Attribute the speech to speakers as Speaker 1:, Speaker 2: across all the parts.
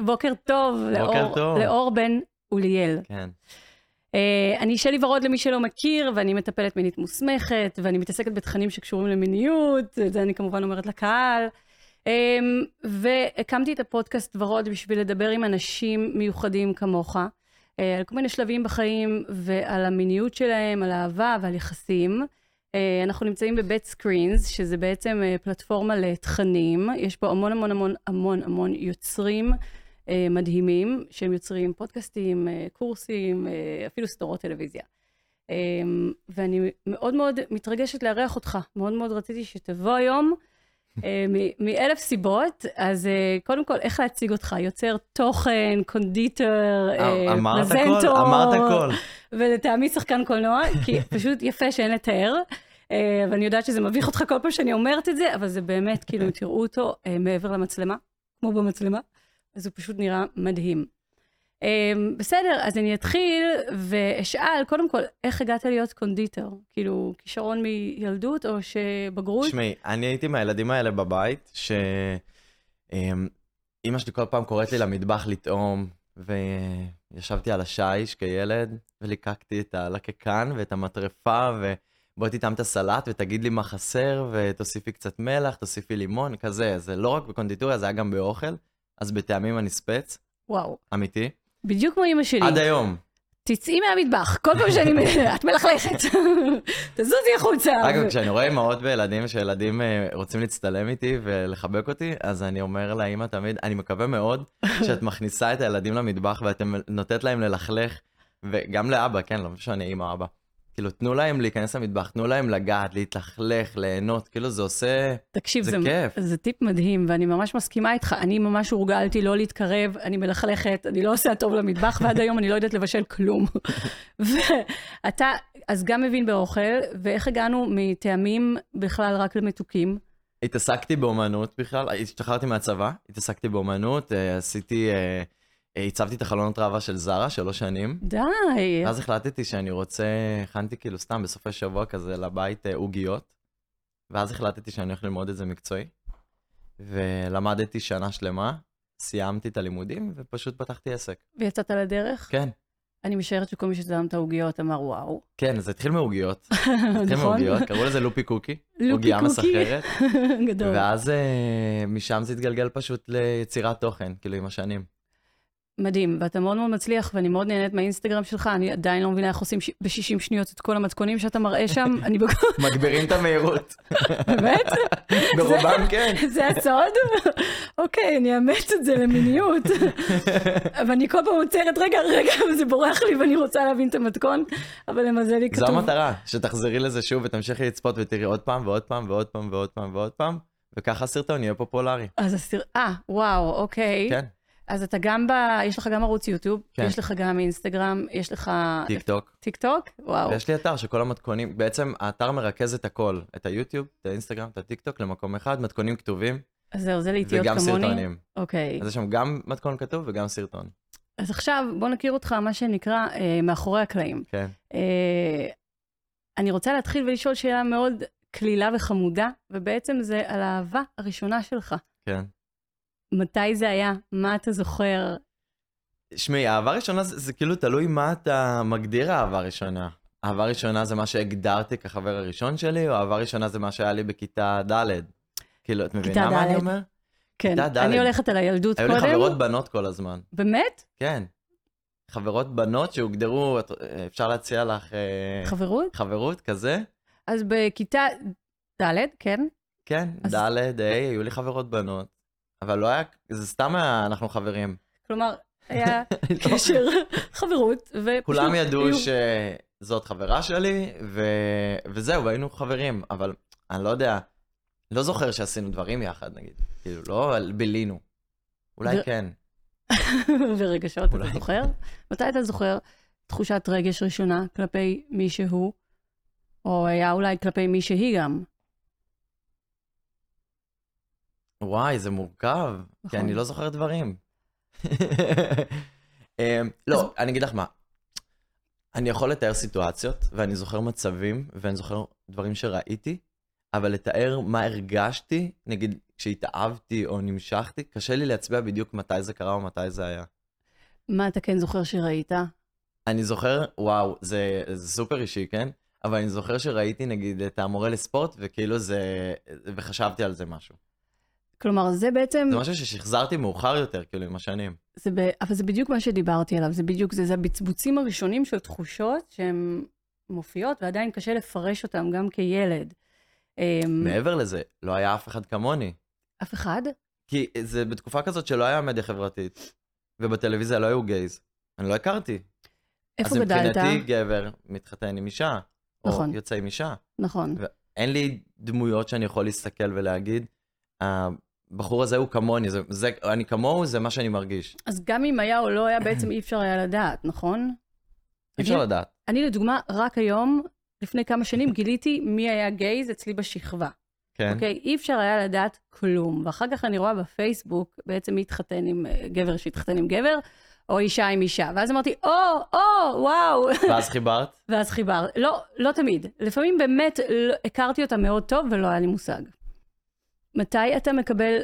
Speaker 1: בוקר טוב,
Speaker 2: בוקר
Speaker 1: לאור,
Speaker 2: טוב.
Speaker 1: לאור בן אוליאל.
Speaker 2: כן.
Speaker 1: אה, אני שלי ורוד למי שלא מכיר, ואני מטפלת מינית מוסמכת, ואני מתעסקת בתכנים שקשורים למיניות, את זה אני כמובן אומרת לקהל. אה, והקמתי את הפודקאסט ורוד בשביל לדבר עם אנשים מיוחדים כמוך, אה, על כל מיני שלבים בחיים, ועל המיניות שלהם, על אהבה ועל יחסים. אה, אנחנו נמצאים בבית סקרינס, שזה בעצם אה, פלטפורמה לתכנים. יש פה המון המון המון המון המון יוצרים אה, מדהימים, שהם יוצרים פודקאסטים, אה, קורסים, אה, אפילו סדרות טלוויזיה. אה, ואני מאוד מאוד מתרגשת לארח אותך, מאוד מאוד רציתי שתבוא היום, אה, מ- מאלף סיבות. אז אה, קודם כל, איך להציג אותך? יוצר תוכן, קונדיטר, אה,
Speaker 2: אמרת הכל,
Speaker 1: פרזנטור.
Speaker 2: אמרת הכל.
Speaker 1: ולטעמי שחקן קולנוע, כי פשוט יפה שאין לתאר. אה, ואני יודעת שזה מביך אותך כל פעם שאני אומרת את זה, אבל זה באמת, כאילו, אם תראו אותו אה, מעבר למצלמה, כמו במצלמה, אז הוא פשוט נראה מדהים. אה, בסדר, אז אני אתחיל ואשאל, קודם כל, איך הגעת להיות קונדיטר? כאילו, כישרון מילדות או שבגרות?
Speaker 2: תשמעי, אני הייתי מהילדים האלה בבית, ש... אמ, אמא שלי כל פעם קוראת לי למטבח לטעום, וישבתי על השיש כילד, וליקקתי את הלקקן ואת המטרפה, ובואי תטעם את הסלט ותגיד לי מה חסר, ותוסיפי קצת מלח, תוסיפי לימון, כזה. זה לא רק בקונדיטוריה, זה היה גם באוכל, אז בטעמים הנספץ,
Speaker 1: וואו,
Speaker 2: אמיתי.
Speaker 1: בדיוק כמו אימא שלי.
Speaker 2: עד היום.
Speaker 1: תצאי מהמטבח, כל פעם שאני... את מלכלכת. תזוזי החוצה.
Speaker 2: אגב, כשאני רואה אמהות וילדים, שילדים אה, רוצים להצטלם איתי ולחבק אותי, אז אני אומר לאמא תמיד, אני מקווה מאוד שאת מכניסה את הילדים למטבח ואתם נותנת להם ללכלך, וגם לאבא, כן, לא משנה, אמא, אבא. כאילו, תנו להם להיכנס למטבח, תנו להם לגעת, להתלכלך, ליהנות, כאילו זה עושה...
Speaker 1: תקשיב,
Speaker 2: זה כן כיף.
Speaker 1: זה טיפ מדהים, ואני ממש מסכימה איתך. אני ממש הורגלתי לא להתקרב, אני מלכלכת, אני לא עושה טוב למטבח, ועד היום אני לא יודעת לבשל כלום. ואתה, אז גם מבין באוכל, ואיך הגענו מטעמים בכלל רק למתוקים?
Speaker 2: התעסקתי באומנות בכלל, השתחררתי מהצבא, התעסקתי באומנות, אה, עשיתי, אה, אה, הצבתי את החלונות ראווה של זרה שלוש שנים.
Speaker 1: די. אוקיי.
Speaker 2: ואז החלטתי שאני רוצה, הכנתי כאילו סתם בסופי שבוע כזה לבית אה, עוגיות, ואז החלטתי שאני הולך ללמוד את זה מקצועי, ולמדתי שנה שלמה, סיימתי את הלימודים ופשוט פתחתי עסק.
Speaker 1: ויצאת לדרך?
Speaker 2: כן,
Speaker 1: אני משערת שכל מי שזם את העוגיות אמר וואו.
Speaker 2: כן, זה התחיל מעוגיות, התחיל
Speaker 1: נכון?
Speaker 2: מעוגיות, קראו לזה לופי קוקי,
Speaker 1: לופי
Speaker 2: עוגייה
Speaker 1: קוקי.
Speaker 2: מסחררת,
Speaker 1: גדול.
Speaker 2: ואז אה, משם זה התגלגל פשוט ליצירת תוכן, כאילו עם השנים.
Speaker 1: מדהים, ואתה מאוד מאוד מצליח, ואני מאוד נהנית מהאינסטגרם שלך, אני עדיין לא מבינה איך עושים ש- ב-60 שניות את כל המתכונים שאתה מראה שם, אני בכל...
Speaker 2: מגבירים את המהירות,
Speaker 1: באמת?
Speaker 2: ברובם כן.
Speaker 1: זה הסוד? אוקיי, אני אאמץ את זה למיניות. אבל אני כל פעם עוצרת, רגע, רגע, זה בורח לי ואני רוצה להבין את המתכון, אבל למזלי
Speaker 2: זו
Speaker 1: כתוב.
Speaker 2: המטרה, שתחזרי לזה שוב ותמשיכי לצפות ותראי עוד פעם ועוד פעם ועוד פעם ועוד פעם ועוד פעם, וככה הסרטון יהיה פופולרי.
Speaker 1: אז הסיר... אה, וואו, אוקיי.
Speaker 2: כן,
Speaker 1: אז אתה גם ב... יש לך גם ערוץ יוטיוב,
Speaker 2: כן.
Speaker 1: יש לך גם אינסטגרם, יש לך...
Speaker 2: טיק טוק.
Speaker 1: טיק טוק? וואו.
Speaker 2: ויש לי אתר שכל המתכונים, בעצם האתר מרכז את הכל, את היוטיוב, את האינסטגרם, את הטיק טוק למקום אחד, מתכונים כתובים
Speaker 1: אז זהו, זה לאיטיות
Speaker 2: וגם
Speaker 1: כמוני.
Speaker 2: סרטונים.
Speaker 1: אוקיי.
Speaker 2: אז יש שם גם מתכון כתוב וגם סרטון.
Speaker 1: אז עכשיו, בוא נכיר אותך, מה שנקרא, אה, מאחורי הקלעים.
Speaker 2: כן,
Speaker 1: אה, אני רוצה להתחיל ולשאול שאלה מאוד קלילה וחמודה, ובעצם זה על האהבה הראשונה שלך.
Speaker 2: כן.
Speaker 1: מתי זה היה? מה אתה זוכר?
Speaker 2: שמעי, אהבה ראשונה זה, זה כאילו תלוי מה אתה מגדיר אהבה ראשונה. אהבה ראשונה זה מה שהגדרתי כחבר הראשון שלי, או אהבה ראשונה זה מה שהיה לי בכיתה ד'. כאילו, את
Speaker 1: כיתה
Speaker 2: מבינה מה אני
Speaker 1: ד'.
Speaker 2: אומר?
Speaker 1: כן,
Speaker 2: כיתה ד'.
Speaker 1: אני הולכת על הילדות
Speaker 2: היו
Speaker 1: קודם.
Speaker 2: לי חברות בנות כל הזמן,
Speaker 1: באמת?
Speaker 2: כן. חברות בנות שהוגדרו, את- אפשר להציע לך אה,
Speaker 1: חברות?
Speaker 2: חברות כזה?
Speaker 1: אז בכיתה ד', כן?
Speaker 2: כן,
Speaker 1: אז-
Speaker 2: ד', ה', היו לי חברות בנות. אבל לא היה, זה סתם היה, אנחנו חברים.
Speaker 1: כלומר, היה
Speaker 2: לא.
Speaker 1: קשר, חברות, ופשוט...
Speaker 2: כולם ידעו
Speaker 1: היו-
Speaker 2: שזאת חברה שלי, ו... וזהו, היינו חברים, אבל אני לא יודע, לא זוכר שעשינו דברים יחד, נגיד. כאילו, לא בילינו.
Speaker 1: ו-
Speaker 2: אולי כן.
Speaker 1: ורגשות, אתה
Speaker 2: אולי.
Speaker 1: זוכר? מתי אתה זוכר תחושת רגש ראשונה כלפי מישהו, או היה אולי כלפי מישהי גם?
Speaker 2: וואי, זה מורכב,
Speaker 1: נכון.
Speaker 2: כי אני לא זוכר דברים. אמ, לא, אני אגיד לך מה. אני יכול לתאר סיטואציות, ואני זוכר מצבים, ואני זוכר דברים שראיתי, אבל לתאר מה הרגשתי, נגיד כשהתאהבתי או נמשכתי, קשה לי להצביע בדיוק מתי זה קרה ומתי זה היה.
Speaker 1: מה אתה כן זוכר שראית?
Speaker 2: אני זוכר, וואו, זה, זה סופר אישי, כן? אבל אני זוכר שראיתי נגיד את המורה לספורט, וכאילו זה, וחשבתי על זה משהו.
Speaker 1: כלומר, זה בעצם,
Speaker 2: זה משהו ששחזרתי מאוחר יותר, כאילו, עם השנים.
Speaker 1: זה ב... אבל זה בדיוק מה שדיברתי עליו, זה בדיוק זה, זה הבצבוצים הראשונים של תחושות שהן מופיעות, ועדיין קשה לפרש אותן גם כילד. אמ,
Speaker 2: מעבר לזה, לא היה אף אחד כמוני.
Speaker 1: אף אחד?
Speaker 2: כי זה בתקופה כזאת שלא היה מדיה חברתית, ובטלוויזיה לא היו גייז. אני לא הכרתי.
Speaker 1: איפה גדלת?
Speaker 2: אז מבחינתי גבר מתחתן עם אישה, או
Speaker 1: נכון.
Speaker 2: יוצא עם אישה.
Speaker 1: נכון.
Speaker 2: אין לי דמויות שאני יכול להסתכל ולהגיד, הבחור הזה הוא כמוני, זה, זה, אני כמוהו, זה מה שאני מרגיש.
Speaker 1: אז גם אם היה או לא היה, בעצם אי אפשר היה לדעת, נכון?
Speaker 2: אי אפשר
Speaker 1: אני-
Speaker 2: לדעת.
Speaker 1: אני לדוגמה, רק היום, לפני כמה שנים, גיליתי מי היה גייז אצלי בשכבה.
Speaker 2: כן.
Speaker 1: אוקיי? אי אפשר היה לדעת כלום. ואחר כך אני רואה בפייסבוק, בעצם מי התחתן עם אה, גבר שהתחתן עם גבר, או אישה עם אישה. ואז אמרתי, או, או, וואו.
Speaker 2: ואז חיברת?
Speaker 1: ואז חיבר. לא, לא תמיד. לפעמים באמת לא, הכרתי אותה מאוד טוב ולא היה לי מושג. מתי אתה מקבל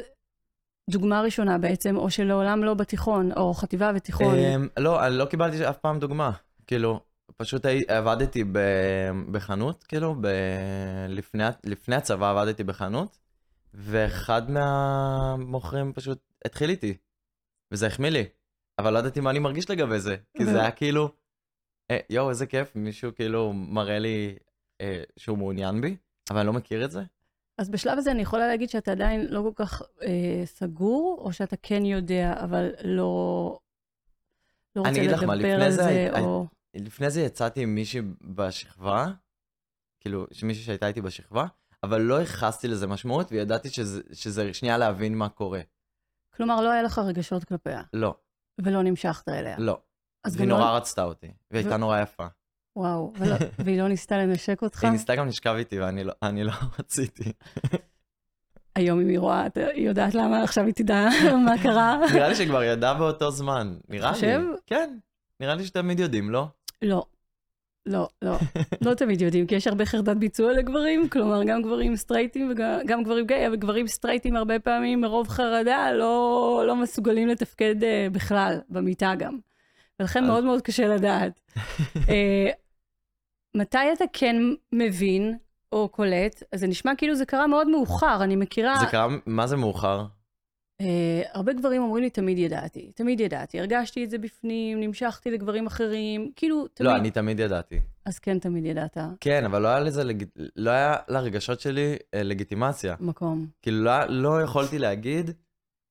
Speaker 1: דוגמה ראשונה בעצם, או שלעולם לא בתיכון, או חטיבה ותיכון?
Speaker 2: אמ, לא, אני לא קיבלתי אף פעם דוגמה. כאילו, פשוט הי- עבדתי ב, בחנות, כאילו, ב, לפני, לפני הצבא עבדתי בחנות, ואחד מהמוכרים פשוט התחיל איתי, וזה החמיא לי. אבל לא ידעתי מה אני מרגיש לגבי זה, כי
Speaker 1: ו-
Speaker 2: זה היה כאילו, אה, יואו, איזה כיף, מישהו כאילו מראה לי אה, שהוא מעוניין בי, אבל אני לא מכיר את זה.
Speaker 1: אז בשלב הזה אני יכולה להגיד שאתה עדיין לא כל כך אה, סגור, או שאתה כן יודע, אבל לא, לא
Speaker 2: אני
Speaker 1: רוצה
Speaker 2: אגיד לך מה,
Speaker 1: לדבר
Speaker 2: לפני
Speaker 1: על
Speaker 2: זה
Speaker 1: זה,
Speaker 2: הי-
Speaker 1: או...
Speaker 2: לפני זה יצאתי עם מישהי בשכבה, כאילו, מישהי שהייתה איתי בשכבה, אבל לא ייחסתי לזה משמעות, וידעתי שזה, שזה שנייה להבין מה קורה.
Speaker 1: כלומר, לא היה לך רגשות כלפיה,
Speaker 2: לא,
Speaker 1: ולא נמשכת אליה.
Speaker 2: לא.
Speaker 1: אז
Speaker 2: והיא
Speaker 1: גם לא- נכון.
Speaker 2: נורא רצתה אותי, והיא הייתה נורא יפה.
Speaker 1: וואו, ולא, והיא לא ניסתה לנשק אותך?
Speaker 2: היא ניסתה גם לשכב איתי, ואני לא, אני לא רציתי.
Speaker 1: היום אם היא רואה, את- היא יודעת למה, עכשיו היא תדע מה קרה.
Speaker 2: נראה לי שכבר ידעה באותו זמן. נראה לי.
Speaker 1: חושב?
Speaker 2: כן. נראה לי שתמיד יודעים, לא?
Speaker 1: לא, לא, לא. לא תמיד יודעים, כי יש הרבה חרדת ביצוע לגברים, כלומר, גם גברים סטרייטים וגם גם גברים גיי, אבל גברים סטרייטים הרבה פעמים מרוב חרדה לא, לא מסוגלים לתפקד uh, בכלל, במיטה גם. ולכן
Speaker 2: אז-
Speaker 1: מאוד מאוד קשה לדעת. uh, מתי אתה כן מבין או קולט? אז זה נשמע כאילו זה קרה מאוד מאוחר, אני מכירה...
Speaker 2: זה קרה, מה זה מאוחר? לא,
Speaker 1: אה, הרבה גברים אומרים לי, תמיד ידעתי, תמיד ידעתי, הרגשתי את זה בפנים, נמשכתי לגברים אחרים, כאילו, תמיד...
Speaker 2: לא, אני תמיד ידעתי.
Speaker 1: אז כן, תמיד ידעת.
Speaker 2: כן, אבל לא היה לזה, לג- לא היה לרגשות שלי אה, לגיטימציה.
Speaker 1: מקום.
Speaker 2: כאילו לא, לא יכולתי להגיד,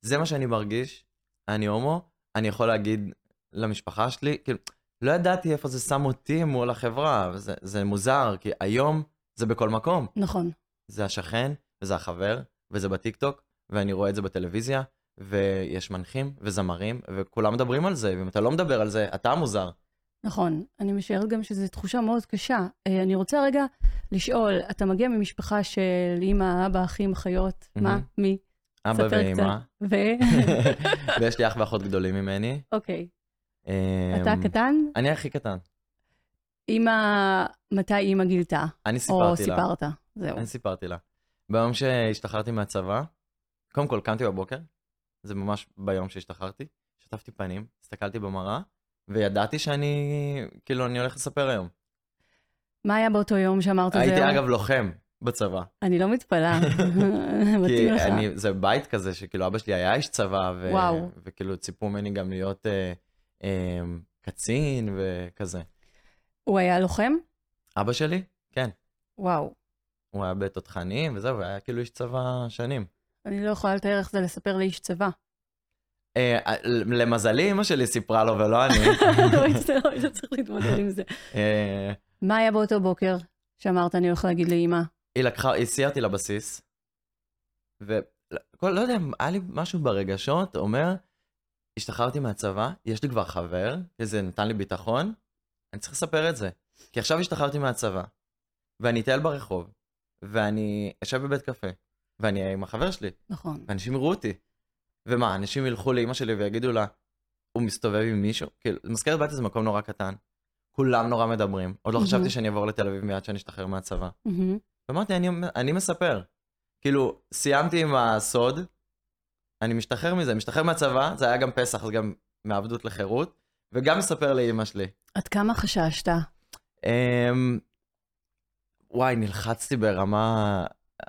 Speaker 2: זה מה שאני מרגיש, אני הומו, אני יכול להגיד למשפחה שלי, כאילו, לא ידעתי איפה זה שם אותי מול החברה, וזה, זה מוזר, כי היום זה בכל מקום,
Speaker 1: נכון.
Speaker 2: זה השכן, וזה החבר, וזה בטיקטוק, ואני רואה את זה בטלוויזיה, ויש מנחים, וזמרים, וכולם מדברים על זה, ואם אתה לא מדבר על זה, אתה המוזר.
Speaker 1: נכון, אני משערת גם שזו תחושה מאוד קשה. אה, אני רוצה רגע לשאול, אתה מגיע ממשפחה של אימא, אבא, אחים, אחיות, מה?
Speaker 2: מהמם.
Speaker 1: מי?
Speaker 2: אבא
Speaker 1: ספר
Speaker 2: ואמא,
Speaker 1: ו...
Speaker 2: ויש לי אח ואחות גדולים ממני.
Speaker 1: אוקיי,
Speaker 2: אמ,
Speaker 1: אתה קטן?
Speaker 2: אני הכי קטן.
Speaker 1: אימא, מתי אימא גילתה?
Speaker 2: אני
Speaker 1: או
Speaker 2: סיפרתי לה.
Speaker 1: סיפרת, זהו.
Speaker 2: אני סיפרתי לה. ביום שהשתחררתי מהצבא, קודם כל קמתי בבוקר, זה ממש ביום שהשתחררתי, שטפתי פנים, הסתכלתי במראה, וידעתי שאני, כאילו, אני הולך לספר היום.
Speaker 1: מה היה באותו יום שאמרת זהו?
Speaker 2: הייתי אגב לוחם בצבא.
Speaker 1: אני לא מתפלאה.
Speaker 2: כי
Speaker 1: מתאים לך.
Speaker 2: אני, זה בית כזה שכאילו אבא שלי היה איש צבא, ו...
Speaker 1: וואו.
Speaker 2: וכאילו ציפו ממני גם להיות אה, אה, קצין וכזה.
Speaker 1: הוא היה לוחם?
Speaker 2: אבא שלי, כן,
Speaker 1: וואו.
Speaker 2: הוא היה בתותחנים וזהו, והיה כאילו איש צבא שנים.
Speaker 1: אני לא יכולה לתאר איך זה לספר לאיש צבא.
Speaker 2: אה, למזלי, אמא שלי סיפרה לו ולא אני.
Speaker 1: לא היית- לא היית צריך להתמודד עם זה.
Speaker 2: אה,
Speaker 1: מה היה באותו בוקר שאמרת, אני הולך להגיד לאימא?
Speaker 2: היא לקחה, היא הסיעה אותי לבסיס, וכל, לא יודע, היה לי משהו ברגשות, אומר, השתחררתי מהצבא, יש לי כבר חבר, וזה נתן לי ביטחון, אני צריך לספר את זה. כי עכשיו השתחררתי מהצבא, ואני אטייל ברחוב, ואני אשב בבית קפה, ואני אהיה עם החבר שלי,
Speaker 1: נכון.
Speaker 2: ואנשים יראו אותי. ומה, אנשים ילכו לאימא שלי ויגידו לה, הוא מסתובב עם מישהו? כאילו, מזכרת בתיה זה מקום נורא קטן, כולם נורא מדברים, עוד לא
Speaker 1: מהמם.
Speaker 2: חשבתי שאני אעבור לתל אביב מיד שאני אשתחרר מהצבא.
Speaker 1: מהמם.
Speaker 2: ואמרתי, אני, אני מספר. כאילו, סיימתי עם הסוד, אני משתחרר מזה, משתחרר מהצבא, זה היה גם פסח, אז גם מעבדות לחירות, וגם מספר לאימא שלי.
Speaker 1: עד כמה חששת?
Speaker 2: אמ, וואי, נלחצתי ברמה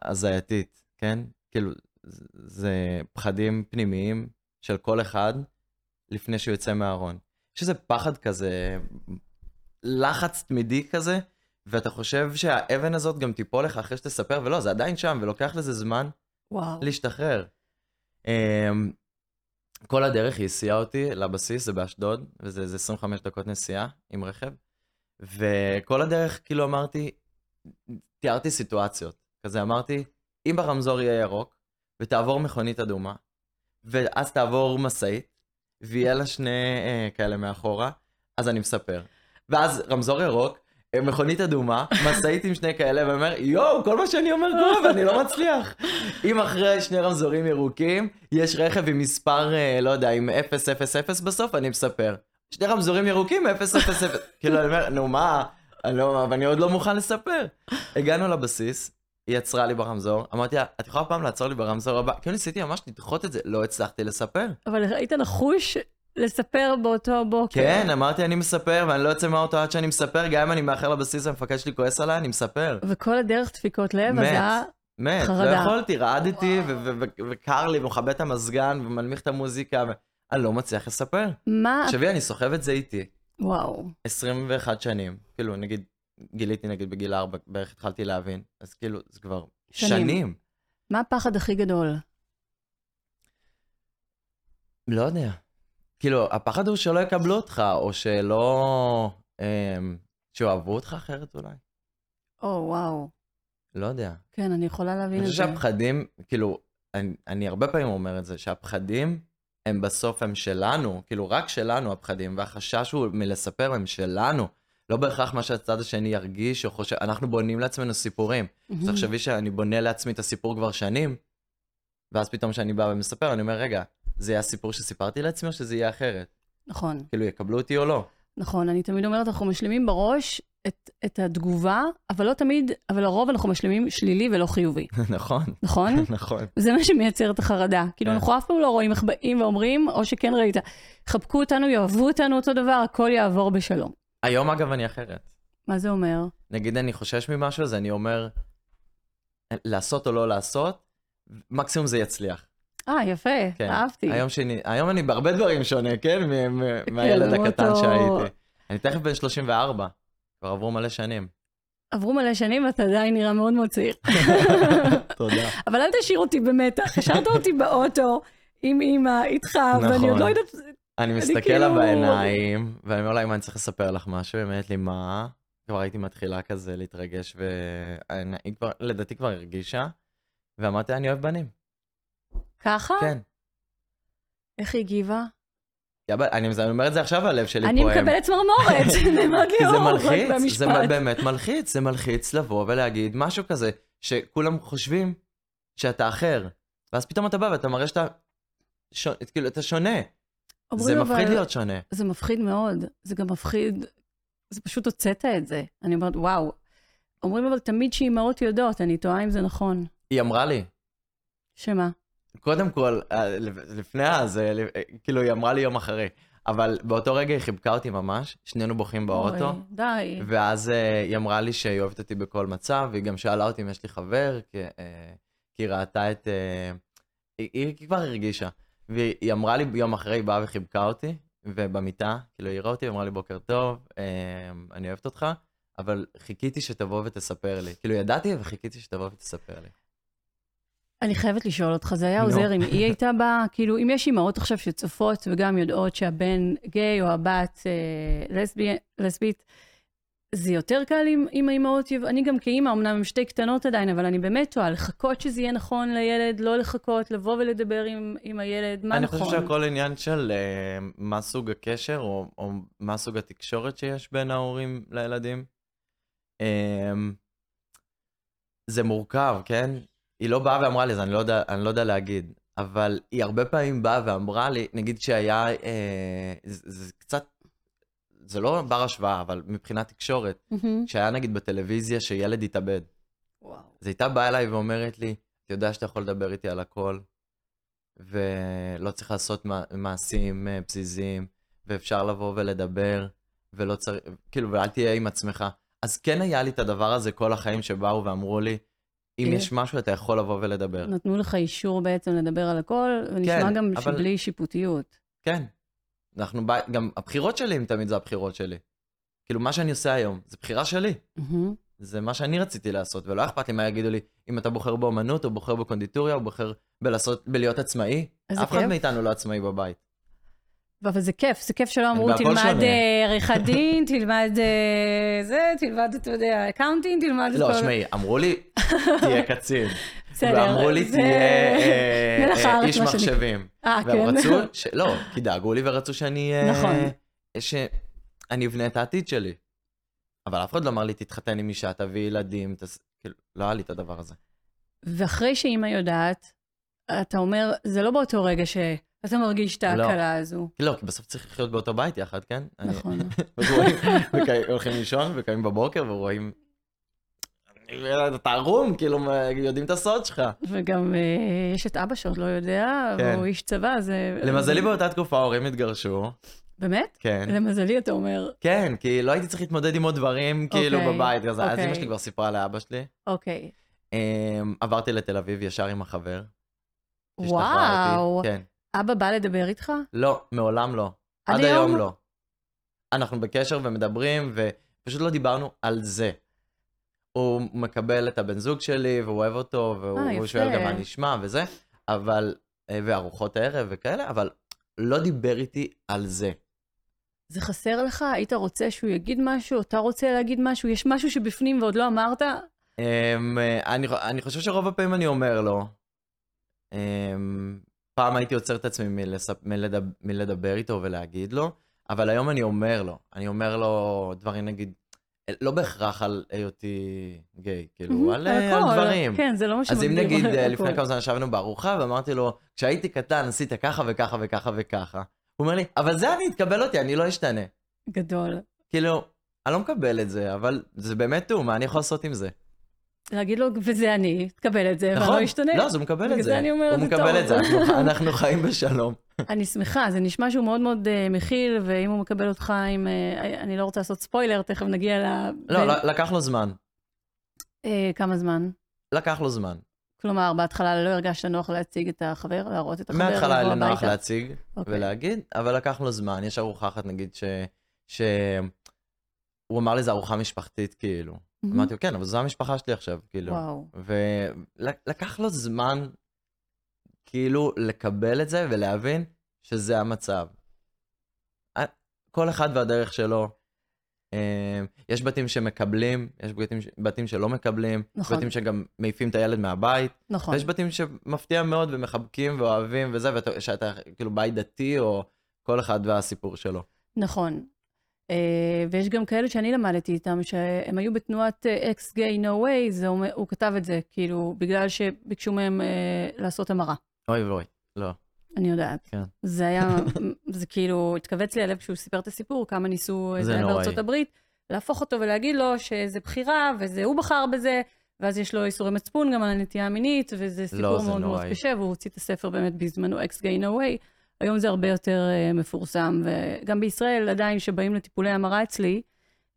Speaker 2: הזייתית, כן? כאילו, זה- זה פחדים פנימיים של כל אחד לפני שהוא יוצא מהארון. יש איזה פחד כזה, לחץ תמידי כזה, ואתה חושב שהאבן הזאת גם תיפול לך אחרי שתספר, ולא, זה עדיין שם, ולוקח לזה זמן
Speaker 1: וואו.
Speaker 2: להשתחרר. אמ, כל הדרך היא הסיעה אותי לבסיס, זה באשדוד, וזה איזה 25 דקות נסיעה עם רכב, וכל הדרך כאילו אמרתי, תיארתי סיטואציות. כזה אמרתי, אם ברמזור יהיה ירוק, ותעבור מכונית אדומה, ואז תעבור משאית, ויהיה לה שני אה, כאלה מאחורה, אז אני מספר. ואז רמזור ירוק, אה, מכונית אדומה, משאית עם שני כאלה, ואומר, יואו, כל מה שאני אומר קורה, ואני לא מצליח. אם אחרי שני רמזורים ירוקים, יש רכב עם מספר, אה, לא יודע, עם 000 בסוף, אני מספר. שני רמזורים ירוקים, 000. כאילו, אני אומר, נו מה, אני לא, ואני עוד לא מוכן לספר. הגענו לבסיס, היא עצרה לי ברמזור, אמרתי לה, את יכולה פעם לעצור לי ברמזור הבא? כאילו ניסיתי ממש לדחות את זה, לא הצלחתי לספר.
Speaker 1: אבל היית נחוש לספר באותו בוקר.
Speaker 2: כן, אמרתי, אני מספר, ואני לא יוצא מהאוטו עד שאני מספר, גם אם אני מאחר לבסיס, המפקד שלי כועס עליי, אני מספר.
Speaker 1: וכל הדרך דפיקות לב, אז
Speaker 2: מת.
Speaker 1: היה...
Speaker 2: מת, לא
Speaker 1: חרדה.
Speaker 2: יכולתי, רעדתי, ו- ו- ו- וקר לי, ומכבה את המזגן, ומנמיך את המוזיקה, ו- אני לא מצליח לספר.
Speaker 1: אה. מה...
Speaker 2: תחשבי, אני סוחב את זה איתי,
Speaker 1: וואו.
Speaker 2: 21 שנים, כאילו, נגיד, גיליתי נגיד בגיל 4, בערך התחלתי להבין, אז כאילו, זה כבר
Speaker 1: שנים.
Speaker 2: שנים.
Speaker 1: מה הפחד הכי גדול?
Speaker 2: לא יודע. כאילו, הפחד הוא שלא יקבלו אותך, או שלא... אמ, שאוהבו אותך אחרת אולי?
Speaker 1: או, וואו.
Speaker 2: לא יודע.
Speaker 1: כן, אני יכולה להבין
Speaker 2: אני
Speaker 1: את
Speaker 2: חושב
Speaker 1: זה.
Speaker 2: שהפחדים, כאילו, אני, אני הרבה פעמים אומר את זה, שהפחדים הם בסוף הם שלנו, כאילו, רק שלנו הפחדים, והחשש הוא מלספר הם שלנו. לא בהכרח מה שהצד השני ירגיש או חושב, אנחנו בונים לעצמנו סיפורים.
Speaker 1: Mm.
Speaker 2: אז תחשבי שאני בונה לעצמי את הסיפור כבר שנים, ואז פתאום כשאני בא ומספר, אני אומר, רגע, זה יהיה הסיפור שסיפרתי לעצמי או שזה יהיה אחרת?
Speaker 1: נכון,
Speaker 2: כאילו, יקבלו אותי או לא?
Speaker 1: נכון. אני תמיד אומרת, אנחנו משלימים בראש את, את התגובה, אבל לא תמיד, אבל לרוב אנחנו משלימים שלילי ולא חיובי,
Speaker 2: נכון,
Speaker 1: נכון?
Speaker 2: נכון.
Speaker 1: זה מה שמייצר את החרדה. כאילו,
Speaker 2: כן.
Speaker 1: אנחנו אף פעם לא רואים איך באים ואומרים, או שכן ראית, חבקו אותנו, יאהבו אותנו אותו דבר, הכל יעבור בשלום.
Speaker 2: היום, אגב, אני אחרת.
Speaker 1: מה זה אומר?
Speaker 2: נגיד אני חושש ממשהו, אז אני אומר, לעשות או לא לעשות, מקסימום זה יצליח.
Speaker 1: אה, יפה,
Speaker 2: כן.
Speaker 1: אהבתי.
Speaker 2: היום, שאני, היום אני בהרבה דברים שונה, כן? מ- מ- מהילד
Speaker 1: כן,
Speaker 2: הקטן
Speaker 1: אותו-
Speaker 2: שהייתי. אני תכף בן 34, כבר עברו מלא שנים.
Speaker 1: עברו מלא שנים ואתה עדיין נראה מאוד מאוד צעיר.
Speaker 2: תודה.
Speaker 1: אבל אל תשאיר אותי במתח, השארת אותי באוטו עם אימא, איתך, ואני עוד
Speaker 2: נכון.
Speaker 1: לא יודעת...
Speaker 2: אני מסתכל לה
Speaker 1: כאילו-
Speaker 2: בעיניים, ואני אומר לה, אם אני צריך לספר לך משהו, היא אומרת לי, מה? כבר הייתי מתחילה כזה להתרגש, והיא כבר, לדעתי כבר הרגישה, ואמרתי, אני אוהב בנים.
Speaker 1: ככה?
Speaker 2: כן.
Speaker 1: איך היא הגיבה?
Speaker 2: יא בת- אני אני אומר את זה עכשיו, הלב שלי
Speaker 1: אני
Speaker 2: פועם.
Speaker 1: מקבלת צמרמורת, נאמר לי
Speaker 2: כי זה
Speaker 1: אור, רק
Speaker 2: מלחיץ, זה
Speaker 1: במשפט.
Speaker 2: באמת מלחיץ, זה מלחיץ לבוא ולהגיד משהו כזה, שכולם חושבים שאתה אחר, ואז פתאום אתה בא ואתה מראה שאתה, ש... כאילו, אתה שונה, זה
Speaker 1: אומרים, אבל-
Speaker 2: מפחיד להיות שונה.
Speaker 1: זה מפחיד מאוד, זה גם מפחיד, זה פשוט הוצאת את זה. אני אומרת, וואו. אומרים אבל תמיד שאימהות יודעות, אני תוהה אם זה נכון.
Speaker 2: היא אמרה לי,
Speaker 1: שמה?
Speaker 2: קודם כל, אה, לפני אז, אה, אה, כאילו, היא אמרה לי יום אחרי, אבל באותו רגע היא חיבקה אותי ממש, שנינו בוכים באוטו.
Speaker 1: אוי, די.
Speaker 2: ואז אה, היא אמרה לי שהיא אוהבת אותי בכל מצב, והיא גם שאלה אותי אם יש לי חבר, כי, אה, כי היא ראתה את... אה, היא, היא כבר הרגישה. והיא אמרה לי יום אחרי, היא באה וחיבקה אותי, ובמיטה, כאילו היא ראה אותי, אמרה לי בוקר טוב, אה, אני אוהבת אותך, אבל חיכיתי שתבוא ותספר לי. כאילו ידעתי וחיכיתי שתבוא ותספר לי.
Speaker 1: אני חייבת לשאול אותך, זה היה
Speaker 2: נו.
Speaker 1: עוזר אם היא הייתה באה? כאילו, אם יש אימהות עכשיו שצופות וגם יודעות שהבן גיי או הבת אה, לסבי- לסבית, זה יותר קל אם, אם האימהות... יב- אני גם כאימא, אמנם הן שתי קטנות עדיין, אבל אני באמת טועה, לחכות שזה יהיה נכון לילד, לא לחכות, לבוא ולדבר עם, עם הילד, מה
Speaker 2: אני
Speaker 1: נכון?
Speaker 2: חושב שהכל עניין של אה, מה סוג הקשר, או, או מה סוג התקשורת שיש בין ההורים לילדים. אה, זה מורכב, כן? היא לא באה ואמרה לי, אז אני לא יודע, אני לא יודע להגיד. אבל היא הרבה פעמים באה ואמרה לי, נגיד שהיה, אה, זה, זה קצת, זה לא בר השוואה, אבל מבחינת תקשורת,
Speaker 1: מהמם.
Speaker 2: שהיה נגיד בטלוויזיה שילד התאבד.
Speaker 1: וואו.
Speaker 2: אז הייתה באה אליי ואומרת לי, אתה יודע שאתה יכול לדבר איתי על הכל, ולא צריך לעשות מע- מעשים אה, פזיזים, ואפשר לבוא ולדבר, ולא צריך, כאילו, ואל תהיה עם עצמך. אז כן היה לי את הדבר הזה כל החיים שבאו ואמרו לי, אם
Speaker 1: אה.
Speaker 2: יש משהו, אתה יכול לבוא ולדבר.
Speaker 1: נתנו לך אישור בעצם לדבר על הכל, ונשמע
Speaker 2: כן,
Speaker 1: גם
Speaker 2: אבל-
Speaker 1: שבלי שיפוטיות.
Speaker 2: כן. אנחנו, בא- גם הבחירות שלי הם תמיד זה הבחירות שלי. כאילו, מה שאני עושה היום, זה בחירה שלי.
Speaker 1: מהמם.
Speaker 2: זה מה שאני רציתי לעשות, ולא אכפת לי מה יגידו לי, אם אתה בוחר באמנות, או בוחר בקונדיטוריה, או בוחר בלעשות, בלהיות עצמאי.
Speaker 1: אז זה
Speaker 2: אף אחד
Speaker 1: כיף.
Speaker 2: מאיתנו לא עצמאי בבית.
Speaker 1: אבל זה כיף, זה כיף שלא אמרו,
Speaker 2: והכל
Speaker 1: תלמד
Speaker 2: שונה."
Speaker 1: אה, עריכת דין, תלמד אה, זה, תלמד, אתה יודע, אקאונטינג, תלמד את
Speaker 2: לא,
Speaker 1: כל-
Speaker 2: שמעי, אמרו לי, תהיה קצין.
Speaker 1: בסדר,
Speaker 2: ואמרו לי,
Speaker 1: זה-
Speaker 2: תהיה אה,
Speaker 1: מלח
Speaker 2: אה,
Speaker 1: הארץ,
Speaker 2: איש
Speaker 1: מה שנקרא.
Speaker 2: מחשבים.
Speaker 1: אה,
Speaker 2: והם
Speaker 1: כן.
Speaker 2: רצו, ש- לא, כי דאגו לי ורצו שאני... אה,
Speaker 1: נכון.
Speaker 2: שאני אבנה את העתיד שלי. אבל אף אחד לא אמר לי, תתחתן עם אישה, תביא ילדים, תס- כאילו, לא היה לי את הדבר הזה.
Speaker 1: ואחרי שאימא יודעת, אתה אומר, זה לא באותו רגע שאתה מרגיש את
Speaker 2: לא.
Speaker 1: ההקלה הזו.
Speaker 2: כי לא, כי בסוף צריך לחיות באותו בית יחד, כן? אני-
Speaker 1: נכון.
Speaker 2: ורואים, וקי- הולכים לישון וקמים בבוקר ורואים, לא אתה ערום, כאילו, מה- יודעים את הסוד שלך.
Speaker 1: וגם אה, יש את אבא שעוד לא יודע,
Speaker 2: כן.
Speaker 1: הוא איש צבא, זה...
Speaker 2: למזלי באותה תקופה ההורים התגרשו,
Speaker 1: באמת?
Speaker 2: כן.
Speaker 1: למזלי, אתה אומר,
Speaker 2: כן, כי לא הייתי צריך להתמודד עם עוד דברים, כאילו,
Speaker 1: אוקיי,
Speaker 2: בבית. אז אז
Speaker 1: אוקיי.
Speaker 2: אמא שלי כבר סיפרה לאבא שלי.
Speaker 1: אוקיי,
Speaker 2: אמ, עברתי לתל אביב ישר עם החבר. שהשתחררתי.
Speaker 1: וואו,
Speaker 2: כן.
Speaker 1: אבא בא לדבר איתך?
Speaker 2: לא, מעולם לא.
Speaker 1: עד
Speaker 2: עד היום
Speaker 1: היום?
Speaker 2: לא. אנחנו בקשר ומדברים, ופשוט לא דיברנו על זה. הוא מקבל את הבן זוג שלי, והוא אוהב אותו, והוא
Speaker 1: אה, יפה.
Speaker 2: הוא שואל גם מה נשמע וזה, אבל, אה, וארוחות הערב וכאלה, אבל לא דיבר איתי על זה.
Speaker 1: זה חסר לך? היית רוצה שהוא יגיד משהו? אתה רוצה להגיד משהו? יש משהו שבפנים ועוד לא אמרת?
Speaker 2: אמ, אה, אני, חו- אני חושב שרוב הפעמים אני אומר לו, אמ, פעם הייתי עוצר את עצמי מלספ, מלדבר, מלדבר איתו ולהגיד לו, אבל היום אני אומר לו, אני אומר לו דברים נגיד, אה, לא בהכרח על היותי גיי, כאילו, על, אה,
Speaker 1: הכל.
Speaker 2: על דברים.
Speaker 1: כן, זה לא מה
Speaker 2: אז
Speaker 1: שמגדיר.
Speaker 2: אם נגיד אה, לפני
Speaker 1: הכל.
Speaker 2: כמה זמן ישבנו בארוחה ואמרתי לו, כשהייתי קטן עשית ככה וככה וככה וככה, הוא אומר לי, אבל זה אני, תקבל אותי, אני לא אשתנה.
Speaker 1: גדול.
Speaker 2: כאילו, אני לא מקבל את זה, אבל זה באמת הוא, מה אני יכול לעשות עם זה?
Speaker 1: להגיד לו, וזה אני, תקבל את זה, ואני לא אשתנה.
Speaker 2: לא, אז הוא מקבל
Speaker 1: בגלל
Speaker 2: את זה.
Speaker 1: זה אני אומרת,
Speaker 2: הוא
Speaker 1: זה
Speaker 2: מקבל
Speaker 1: טוב.
Speaker 2: את זה, אנחנו- אנחנו חיים בשלום.
Speaker 1: אני שמחה, זה נשמע שהוא מאוד מאוד אה, מכיל, ואם הוא מקבל אותך עם... אה, אני לא רוצה לעשות ספוילר, תכף נגיע ל...
Speaker 2: לא, לא, לקח לו זמן.
Speaker 1: אה, כמה זמן?
Speaker 2: לקח לו זמן.
Speaker 1: כלומר, בהתחלה לא הרגשת נוח להציג את החבר, להראות את החבר,
Speaker 2: מההתחלה
Speaker 1: לבוא
Speaker 2: היה לי נוח
Speaker 1: הביתה.
Speaker 2: להציג
Speaker 1: אוקיי.
Speaker 2: ולהגיד, אבל לקח לו זמן. יש ארוחה אחת, נגיד, ש... ש... הוא אמר לי, זו ארוחה משפחתית, כאילו.
Speaker 1: מהמם.
Speaker 2: אמרתי לו, כן, אבל זו המשפחה שלי עכשיו, כאילו.
Speaker 1: Mm-hmm. וואו.
Speaker 2: ולקח לו זמן, כאילו, לקבל את זה ולהבין שזה המצב. אה, כל אחד והדרך שלו. אה, יש בתים שמקבלים, יש בתים, ש- בתים שלא מקבלים,
Speaker 1: נכון.
Speaker 2: נכון. בתים שגם מעיפים את הילד מהבית,
Speaker 1: נכון.
Speaker 2: ויש בתים שמפתיע מאוד ומחבקים ואוהבים וזה, ואתה- שאתה כאילו בית דתי או כל אחד והסיפור שלו.
Speaker 1: נכון. אה, ויש גם כאלה שאני למדתי איתם, שהם היו בתנועת אה, אקס גיי נו ווי, הוא כתב את זה, כאילו, בגלל שביקשו מהם אה, לעשות המרה.
Speaker 2: אוי ואוי, לא.
Speaker 1: אני יודעת.
Speaker 2: כן.
Speaker 1: זה היה, זה כאילו, התכווץ לי הלב כשהוא סיפר את הסיפור, כמה ניסו, אה,
Speaker 2: זה
Speaker 1: זה היה
Speaker 2: נוראי.
Speaker 1: בארצות הברית, להפוך אותו ולהגיד לו שזה בחירה, וזה הוא בחר בזה, ואז יש לו איסורי מצפון גם על הנטייה המינית, וזה סיפור
Speaker 2: לא, זה
Speaker 1: מאוד מאוד
Speaker 2: נוראי.
Speaker 1: קשה, והוא הוציא את הספר באמת בזמנו, אקס גיי נו ווי. היום זה הרבה יותר אה, מפורסם, וגם בישראל עדיין, כשבאים לטיפולי המרה אצלי,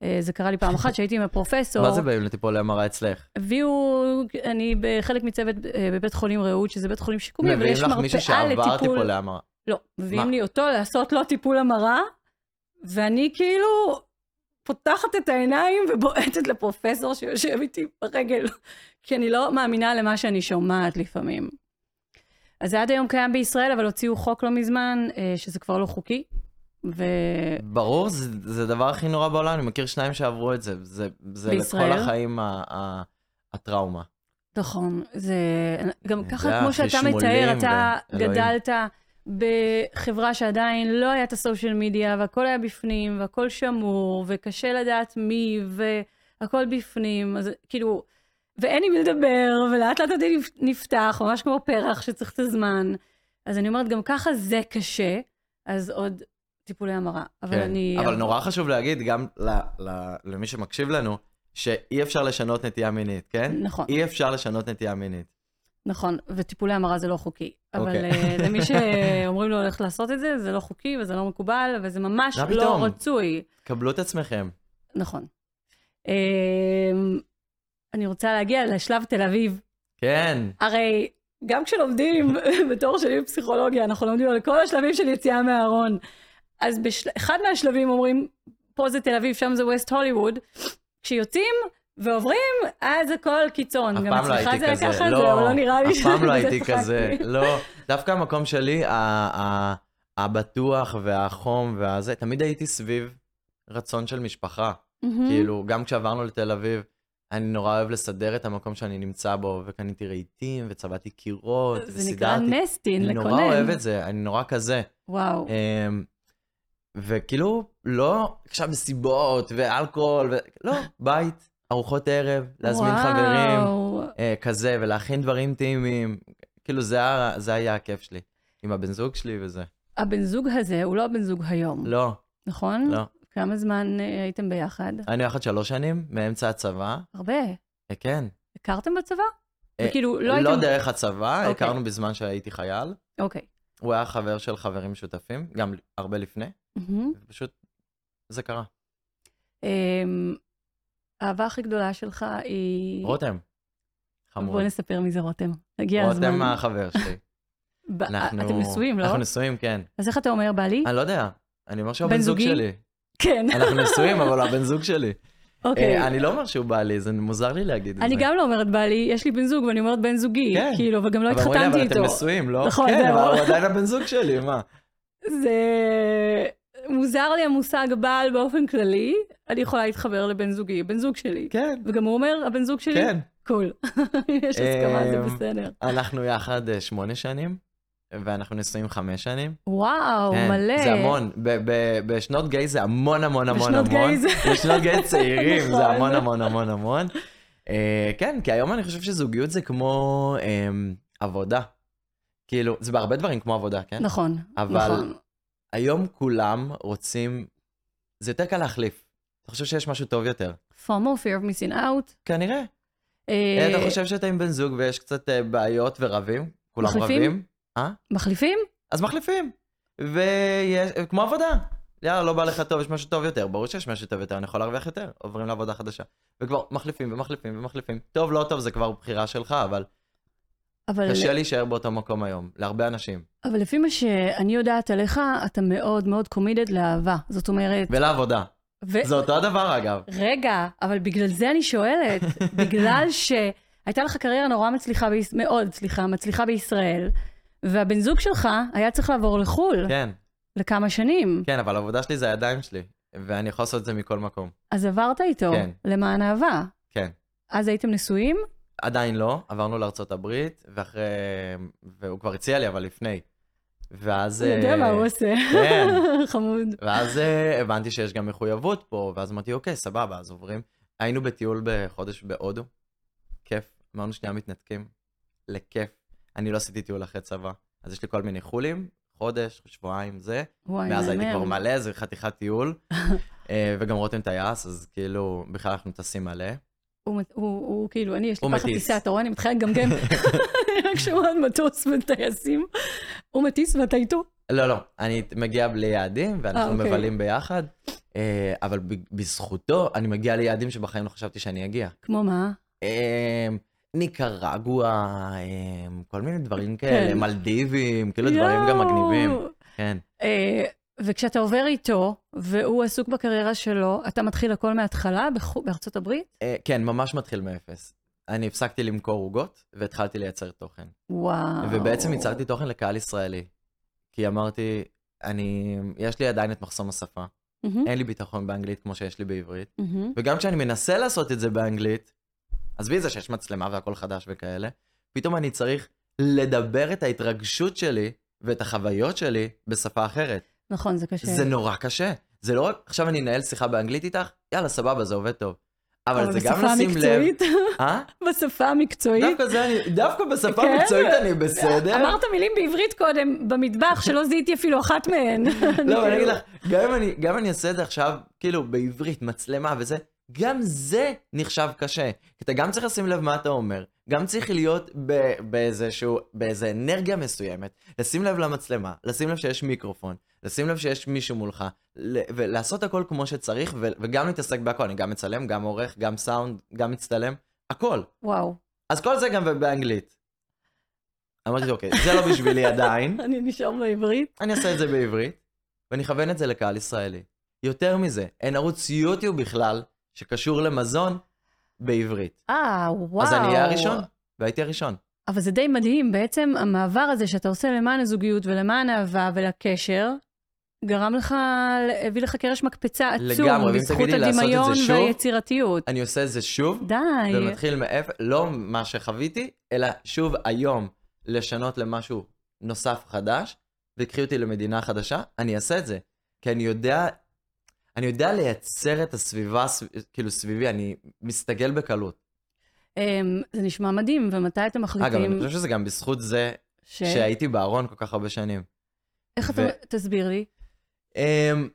Speaker 1: אה, זה קרה לי פעם אחת שהייתי עם הפרופסור.
Speaker 2: מה זה באים לטיפולי המרה אצלך?
Speaker 1: הביאו, אני בחלק מצוות אה, בבית חולים רעות, שזה בית חולים שיקומי, אבל
Speaker 2: מביאים
Speaker 1: יש
Speaker 2: לך מישהו
Speaker 1: מרפאה
Speaker 2: שעבר
Speaker 1: לטיפול
Speaker 2: טיפולי המרה.
Speaker 1: לא, מביאים
Speaker 2: מה?
Speaker 1: לי אותו לעשות לו טיפול המרה, ואני כאילו פותחת את העיניים ובועטת לפרופסור שיושב איתי ברגל, כי אני לא מאמינה למה שאני שומעת לפעמים. אז זה עד היום קיים בישראל, אבל הוציאו חוק לא מזמן, אה, שזה כבר לא חוקי, ובישראל
Speaker 2: ברור, זה, זה הדבר הכי נורא בעולם, אני מכיר שניים שעברו את זה. זה, זה
Speaker 1: בישראל?
Speaker 2: לכל החיים ה, ה, הטראומה.
Speaker 1: נכון, זה גם
Speaker 2: אני
Speaker 1: ככה,
Speaker 2: יודע,
Speaker 1: כמו שאתה
Speaker 2: חשמולים
Speaker 1: מתאר, אתה
Speaker 2: ואלוהים.
Speaker 1: גדלת בחברה שעדיין לא היה את הסושיאל מדיה, והכל היה בפנים, והכל שמור, וקשה לדעת מי, והכל בפנים, אז כאילו, ואין עם מי לדבר, ולאט לאט הדין נפתח, ממש כמו פרח שצריך את הזמן. אז אני אומרת, גם ככה זה קשה, אז עוד טיפולי המרה. אבל
Speaker 2: כן.
Speaker 1: אני...
Speaker 2: אבל נורא חשוב להגיד גם ל, ל, למי שמקשיב לנו, שאי אפשר לשנות נטייה מינית, כן?
Speaker 1: נכון,
Speaker 2: אי אפשר לשנות נטייה מינית.
Speaker 1: נכון, וטיפולי המרה זה לא חוקי. אבל
Speaker 2: אוקיי.
Speaker 1: אה, למי שאומרים לו הולך לעשות את זה, זה לא חוקי וזה לא מקובל, וזה ממש
Speaker 2: מה
Speaker 1: לא
Speaker 2: פתאום?
Speaker 1: רצוי.
Speaker 2: קבלו את עצמכם.
Speaker 1: נכון. אמ, אני רוצה להגיע לשלב תל אביב.
Speaker 2: כן,
Speaker 1: הרי גם כשלומדים בתואר שלי בפסיכולוגיה, אנחנו לומדים על כל השלבים של יציאה מהארון. אז באחד מהשלבים אומרים, פה זה תל אביב, שם זה ווסט הוליווד. כשיוצאים ועוברים, אז הכל קיצון.
Speaker 2: אף
Speaker 1: גם
Speaker 2: פעם לא
Speaker 1: אצלך
Speaker 2: הייתי
Speaker 1: זה היה
Speaker 2: כזה.
Speaker 1: ככה, זה אבל לא נראה לי
Speaker 2: אף פעם לא
Speaker 1: שזה
Speaker 2: הייתי
Speaker 1: צחקתי.
Speaker 2: כזה. לא, דווקא המקום שלי, ה- ה- הבטוח והחום והזה, תמיד הייתי סביב רצון של משפחה.
Speaker 1: מהמם.
Speaker 2: כאילו, גם כשעברנו לתל אביב, אני נורא אוהב לסדר את המקום שאני נמצא בו, וקניתי רהיטים, וצבעתי קירות,
Speaker 1: זה נקרא
Speaker 2: וסידרתי.
Speaker 1: נסטין,
Speaker 2: אני
Speaker 1: לקונן.
Speaker 2: נורא אוהב את זה, אני נורא כזה.
Speaker 1: וואו.
Speaker 2: אמ, וכאילו, לא עכשיו מסיבות ואלכוהול, ו... לא, בית, ארוחות ערב, להזמין
Speaker 1: וואו.
Speaker 2: חברים, אה, כזה, ולהכין דברים טעימים. כאילו, זה, ה- זה היה הכיף שלי, עם הבן זוג שלי וזה.
Speaker 1: הבן זוג הזה הוא לא הבן זוג היום,
Speaker 2: לא,
Speaker 1: נכון?
Speaker 2: לא.
Speaker 1: כמה זמן אה, הייתם ביחד?
Speaker 2: היינו יחד שלוש שנים, מאמצע הצבא.
Speaker 1: הרבה.
Speaker 2: אה, כן.
Speaker 1: הכרתם בצבא?
Speaker 2: אה,
Speaker 1: וכאילו, לא
Speaker 2: לא,
Speaker 1: הייתם...
Speaker 2: דרך הצבא,
Speaker 1: אוקיי.
Speaker 2: הכרנו בזמן שהייתי חייל.
Speaker 1: אוקיי.
Speaker 2: הוא היה חבר של חברים משותפים, גם הרבה לפני,
Speaker 1: מהמם.
Speaker 2: ופשוט זה קרה.
Speaker 1: אוקיי. אמ, האהבה הכי גדולה שלך היא...
Speaker 2: רותם, חמוד.
Speaker 1: בוא נספר מי זה רותם. הגיע הזמן.
Speaker 2: רותם החבר שלי.
Speaker 1: ב-
Speaker 2: אנחנו...
Speaker 1: אה, אתם נשואים, לא?
Speaker 2: אנחנו נשואים, כן.
Speaker 1: אז איך אתה אומר, בעלי?
Speaker 2: אני לא יודע, אני אומר שהוא
Speaker 1: בן
Speaker 2: הבן זוג
Speaker 1: זוגי?
Speaker 2: שלי.
Speaker 1: כן.
Speaker 2: אנחנו נשואים, אבל הוא הבן זוג שלי.
Speaker 1: אוקיי.
Speaker 2: אה, אני לא אומר שהוא בא לי, זה מוזר לי להגיד את זה.
Speaker 1: אני גם לא אומרת בעלי, יש לי בן זוג ואני אומרת בן זוגי.
Speaker 2: כן.
Speaker 1: כאילו, אבל גם לא
Speaker 2: אבל אומרים לי,
Speaker 1: התחתנתי
Speaker 2: אבל
Speaker 1: איתו.
Speaker 2: אתם נשואים, לא?
Speaker 1: נכון,
Speaker 2: כן,
Speaker 1: זהו.
Speaker 2: אבל הוא עדיין הבן זוג שלי, מה?
Speaker 1: זה מוזר לי המושג בעל באופן כללי, אני יכולה להתחבר לבן זוגי, בן זוג שלי.
Speaker 2: כן,
Speaker 1: וגם הוא אומר, הבן זוג שלי,
Speaker 2: כן.
Speaker 1: קול. יש הסכמה, זה
Speaker 2: אמ,
Speaker 1: בסדר.
Speaker 2: אנחנו יחד אה, שמונה שנים, ואנחנו נשואים חמש שנים.
Speaker 1: וואו,
Speaker 2: כן,
Speaker 1: מלא.
Speaker 2: זה המון. ב- ב- בשנות גיי זה המון המון המון
Speaker 1: בשנות
Speaker 2: המון.
Speaker 1: גיי זה-
Speaker 2: בשנות גיי צעירים
Speaker 1: נכון.
Speaker 2: זה המון המון המון המון. אה, כן, כי היום אני חושב שזוגיות זה כמו אה, עבודה. כאילו, זה בהרבה דברים כמו עבודה, כן?
Speaker 1: נכון,
Speaker 2: אבל-
Speaker 1: נכון.
Speaker 2: היום כולם רוצים, זה יותר קל להחליף. אתה חושב שיש משהו טוב יותר?
Speaker 1: FOMO, fear of missing out.
Speaker 2: כנראה.
Speaker 1: אה,
Speaker 2: אה, אתה חושב שאתה עם בן זוג ויש קצת אה, בעיות ורבים? כולם
Speaker 1: מחליפים?
Speaker 2: רבים? אה?
Speaker 1: מחליפים?
Speaker 2: אז מחליפים. ויש, כמו עבודה. יאללה, לא בא לך טוב, יש משהו טוב יותר. ברור שיש משהו טוב יותר, אני יכול להרוויח יותר. עוברים לעבודה חדשה. וכבר מחליפים ומחליפים ומחליפים. טוב, לא טוב, זה כבר בחירה שלך, אבל
Speaker 1: אבל,
Speaker 2: קשה להישאר באותו מקום היום, להרבה אנשים.
Speaker 1: אבל לפי מה שאני יודעת עליך, אתה מאוד מאוד קומידד לאהבה. זאת אומרת...
Speaker 2: ולעבודה.
Speaker 1: ו-
Speaker 2: זה אותו הדבר, אגב.
Speaker 1: רגע, אבל בגלל זה אני שואלת, בגלל שהייתה לך קריירה נורא מצליחה, ביש... מאוד, סליחה, מצליחה בישראל, והבן זוג שלך היה צריך לעבור לחו"ל
Speaker 2: כן,
Speaker 1: לכמה שנים,
Speaker 2: כן, אבל העבודה שלי זה הידיים שלי. ואני יכול לעשות את זה מכל מקום.
Speaker 1: אז עברת איתו
Speaker 2: כן.
Speaker 1: למען אהבה.
Speaker 2: כן.
Speaker 1: אז הייתם נשואים?
Speaker 2: עדיין לא, עברנו לארצות הברית, ואחרי... והוא כבר הציע לי, אבל לפני. ואז...
Speaker 1: הוא יודע
Speaker 2: אה,
Speaker 1: מה הוא עושה.
Speaker 2: כן.
Speaker 1: חמוד.
Speaker 2: ואז אה, הבנתי שיש גם מחויבות פה, ואז אמרתי, אוקיי, סבבה, אז עוברים. היינו בטיול בחודש בהודו, כיף, אמרנו שנייה מתנתקים, לכיף. אני לא עשיתי טיול אחרי צבא, אז יש לי כל מיני חולים, חודש, שבועיים, זה.
Speaker 1: וואי,
Speaker 2: מאז הייתי כבר
Speaker 1: מהמם.
Speaker 2: מלא, זה חתיכת טיול. אה, וגם רותם טייס, אז כאילו, בכלל אנחנו טסים מלא.
Speaker 1: הוא, מת- הוא, הוא כאילו, אני, יש לי
Speaker 2: הוא
Speaker 1: פחד
Speaker 2: מטיס.
Speaker 1: טיסה, אתה רואה, אני מתחילה לגמגם. רק שמועת מטוס וטייסים. הוא מטיס ואתה איתו?
Speaker 2: לא, לא, אני מגיע בלי יעדים,
Speaker 1: אה,
Speaker 2: ואנחנו
Speaker 1: אוקיי.
Speaker 2: מבלים ביחד, אה, אבל ב- בזכותו אני מגיע ליעדים שבחיים לא חשבתי שאני אגיע.
Speaker 1: כמו מה?
Speaker 2: אמ, ניקרגואה, אמ, כל מיני דברים כאלה,
Speaker 1: כן.
Speaker 2: מלדיבים, כאילו דברים גם מגניבים.
Speaker 1: יואו.
Speaker 2: כן,
Speaker 1: אה, וכשאתה עובר איתו, והוא עסוק בקריירה שלו, אתה מתחיל הכל מההתחלה בחו- בארצות הברית?
Speaker 2: אה, כן, ממש מתחיל מאפס. אני הפסקתי למכור עוגות והתחלתי לייצר תוכן.
Speaker 1: וואו.
Speaker 2: ובעצם ייצרתי תוכן לקהל ישראלי. כי אמרתי, אני, יש לי עדיין את מחסום השפה,
Speaker 1: מהמם,
Speaker 2: אין לי ביטחון באנגלית כמו שיש לי בעברית.
Speaker 1: מהמם.
Speaker 2: וגם כשאני מנסה לעשות את זה באנגלית, עזבי את זה שיש מצלמה והכל חדש וכאלה, פתאום אני צריך לדבר את ההתרגשות שלי ואת החוויות שלי בשפה אחרת.
Speaker 1: נכון, זה קשה.
Speaker 2: זה נורא קשה. זה לא רק, עכשיו אני אנהל שיחה באנגלית איתך, יאללה, סבבה, זה עובד טוב. אבל זה גם
Speaker 1: בשפה
Speaker 2: לשים לב... לא,
Speaker 1: המקצועית-
Speaker 2: אה?
Speaker 1: בשפה המקצועית.
Speaker 2: דווקא זה אני, דווקא בשפה
Speaker 1: כן. אה,
Speaker 2: המקצועית אני בסדר.
Speaker 1: אמרת מילים בעברית קודם, במטבח, שלא זיהיתי אפילו אחת מהן.
Speaker 2: לא, אבל אני אגיד לך, גם אם אני- גם אם אני עושה את זה עכשיו, כאילו, בעברית, כאילו, מצלמה וזה, גם זה נחשב קשה. כי אתה גם צריך לשים לב מה אתה אומר, גם צריך להיות ב- באיזשהו, באיזו אנרגיה מסוימת, לשים לב למצלמה, לשים לב שיש מיקרופון, לשים לב שיש מישהו מולך, ל- ולעשות הכל כמו שצריך, ו- וגם להתעסק בהכל, אני גם מצלם, גם עורך, גם סאונד, גם מצטלם, הכל.
Speaker 1: וואו,
Speaker 2: אז כל זה גם באנגלית. אמרתי, אוקיי, זה לא בשבילי עדיין,
Speaker 1: אני נשאר בעברית.
Speaker 2: אני אעשה את זה בעברית, ואני אכוון את זה לקהל ישראלי. יותר מזה, אין ערוץ יוטיוב בכלל שקשור למזון בעברית.
Speaker 1: אה, וואו.
Speaker 2: אז אני אהיה הראשון, והייתי הראשון.
Speaker 1: אבל זה די מדהים, בעצם המעבר הזה שאתה עושה למען הזוגיות ולמען האהבה ולקשר, גרם לך, הביא לך קרש מקפצה עצום,
Speaker 2: לגמרי, ואם
Speaker 1: בזכות
Speaker 2: תגידי לעשות את זה
Speaker 1: הדמיון
Speaker 2: שוב,
Speaker 1: והיצירתיות.
Speaker 2: אני עושה את זה שוב,
Speaker 1: די.
Speaker 2: ומתחיל מאפס, לא מה שחוויתי, אלא שוב היום לשנות למשהו נוסף חדש, וקחי אותי למדינה חדשה, אני אעשה את זה. כי אני יודע, אני יודע לייצר את הסביבה, סב- כאילו סביבי, אני מסתגל בקלות.
Speaker 1: אמ, זה נשמע מדהים, ומתי אתם
Speaker 2: אגב, אני
Speaker 1: מחליטים
Speaker 2: חושב שזה גם בזכות זה
Speaker 1: ש...
Speaker 2: שהייתי בארון כל כך הרבה שנים.
Speaker 1: איך אתה...
Speaker 2: ו-
Speaker 1: תסביר לי.
Speaker 2: אמ,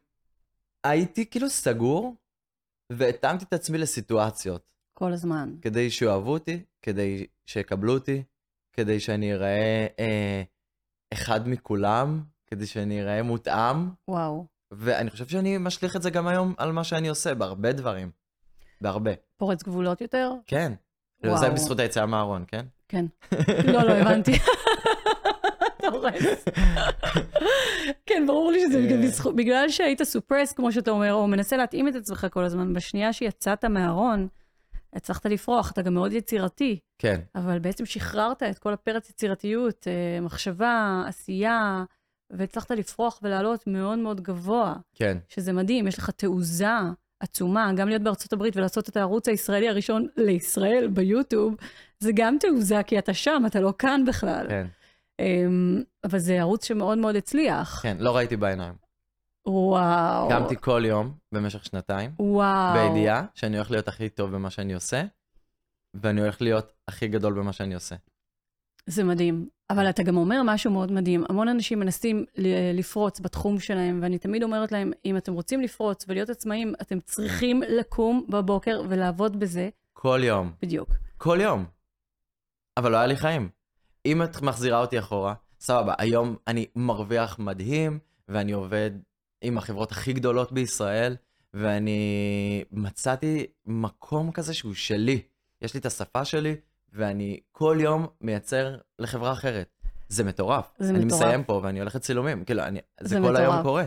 Speaker 2: הייתי כאילו סגור, והתאמתי את עצמי לסיטואציות.
Speaker 1: כל הזמן.
Speaker 2: כדי שאוהבו אותי, כדי שיקבלו אותי, כדי שאני אראה אה, אחד מכולם, כדי שאני אראה מותאם,
Speaker 1: וואו.
Speaker 2: ואני חושב שאני משליך את זה גם היום על מה שאני עושה, בהרבה דברים. בהרבה.
Speaker 1: פורץ גבולות יותר?
Speaker 2: כן.
Speaker 1: וואו.
Speaker 2: זה בזכות היציאה מהארון, כן?
Speaker 1: כן. לא, לא, הבנתי. אתה הורס. כן, ברור לי שזה בגלל-
Speaker 2: אה.
Speaker 1: בזכות- בגלל שהיית סופרס, כמו שאתה אומר, או מנסה להתאים את עצמך כל הזמן. בשנייה שיצאת מהארון, הצלחת לפרוח, אתה גם מאוד יצירתי,
Speaker 2: כן.
Speaker 1: אבל בעצם שחררת את כל הפרץ יצירתיות, אה, מחשבה, עשייה, והצלחת לפרוח ולעלות מאוד מאוד גבוה.
Speaker 2: כן.
Speaker 1: שזה מדהים, יש לך תעוזה עצומה, גם להיות בארצות הברית ולעשות את הערוץ הישראלי הראשון לישראל ביוטיוב, זה גם תעוזה, כי אתה שם, אתה לא כאן בכלל.
Speaker 2: כן.
Speaker 1: אמ, אבל זה ערוץ שמאוד מאוד הצליח.
Speaker 2: כן. לא ראיתי בעיניים.
Speaker 1: וואו.
Speaker 2: קמתי כל יום במשך שנתיים,
Speaker 1: וואו.
Speaker 2: בידיעה שאני הולך להיות הכי טוב במה שאני עושה, ואני הולך להיות הכי גדול במה שאני עושה.
Speaker 1: זה מדהים. אבל אתה גם אומר משהו מאוד מדהים. המון אנשים מנסים ל- לפרוץ בתחום שלהם, ואני תמיד אומרת להם, אם אתם רוצים לפרוץ ולהיות עצמאים, אתם צריכים לקום בבוקר ולעבוד בזה.
Speaker 2: כל יום.
Speaker 1: בדיוק.
Speaker 2: כל יום. אבל לא היה לי חיים. אם את מחזירה אותי אחורה, סבבה, היום אני מרוויח מדהים, ואני עובד עם החברות הכי גדולות בישראל, ואני מצאתי מקום כזה שהוא שלי. יש לי את השפה שלי, ואני כל יום מייצר לחברה אחרת. זה מטורף.
Speaker 1: זה
Speaker 2: אני
Speaker 1: מטורף.
Speaker 2: מסיים פה ואני הולך לצילומים. כאילו, אני, זה,
Speaker 1: זה
Speaker 2: כל היום
Speaker 1: מטורף.
Speaker 2: קורה.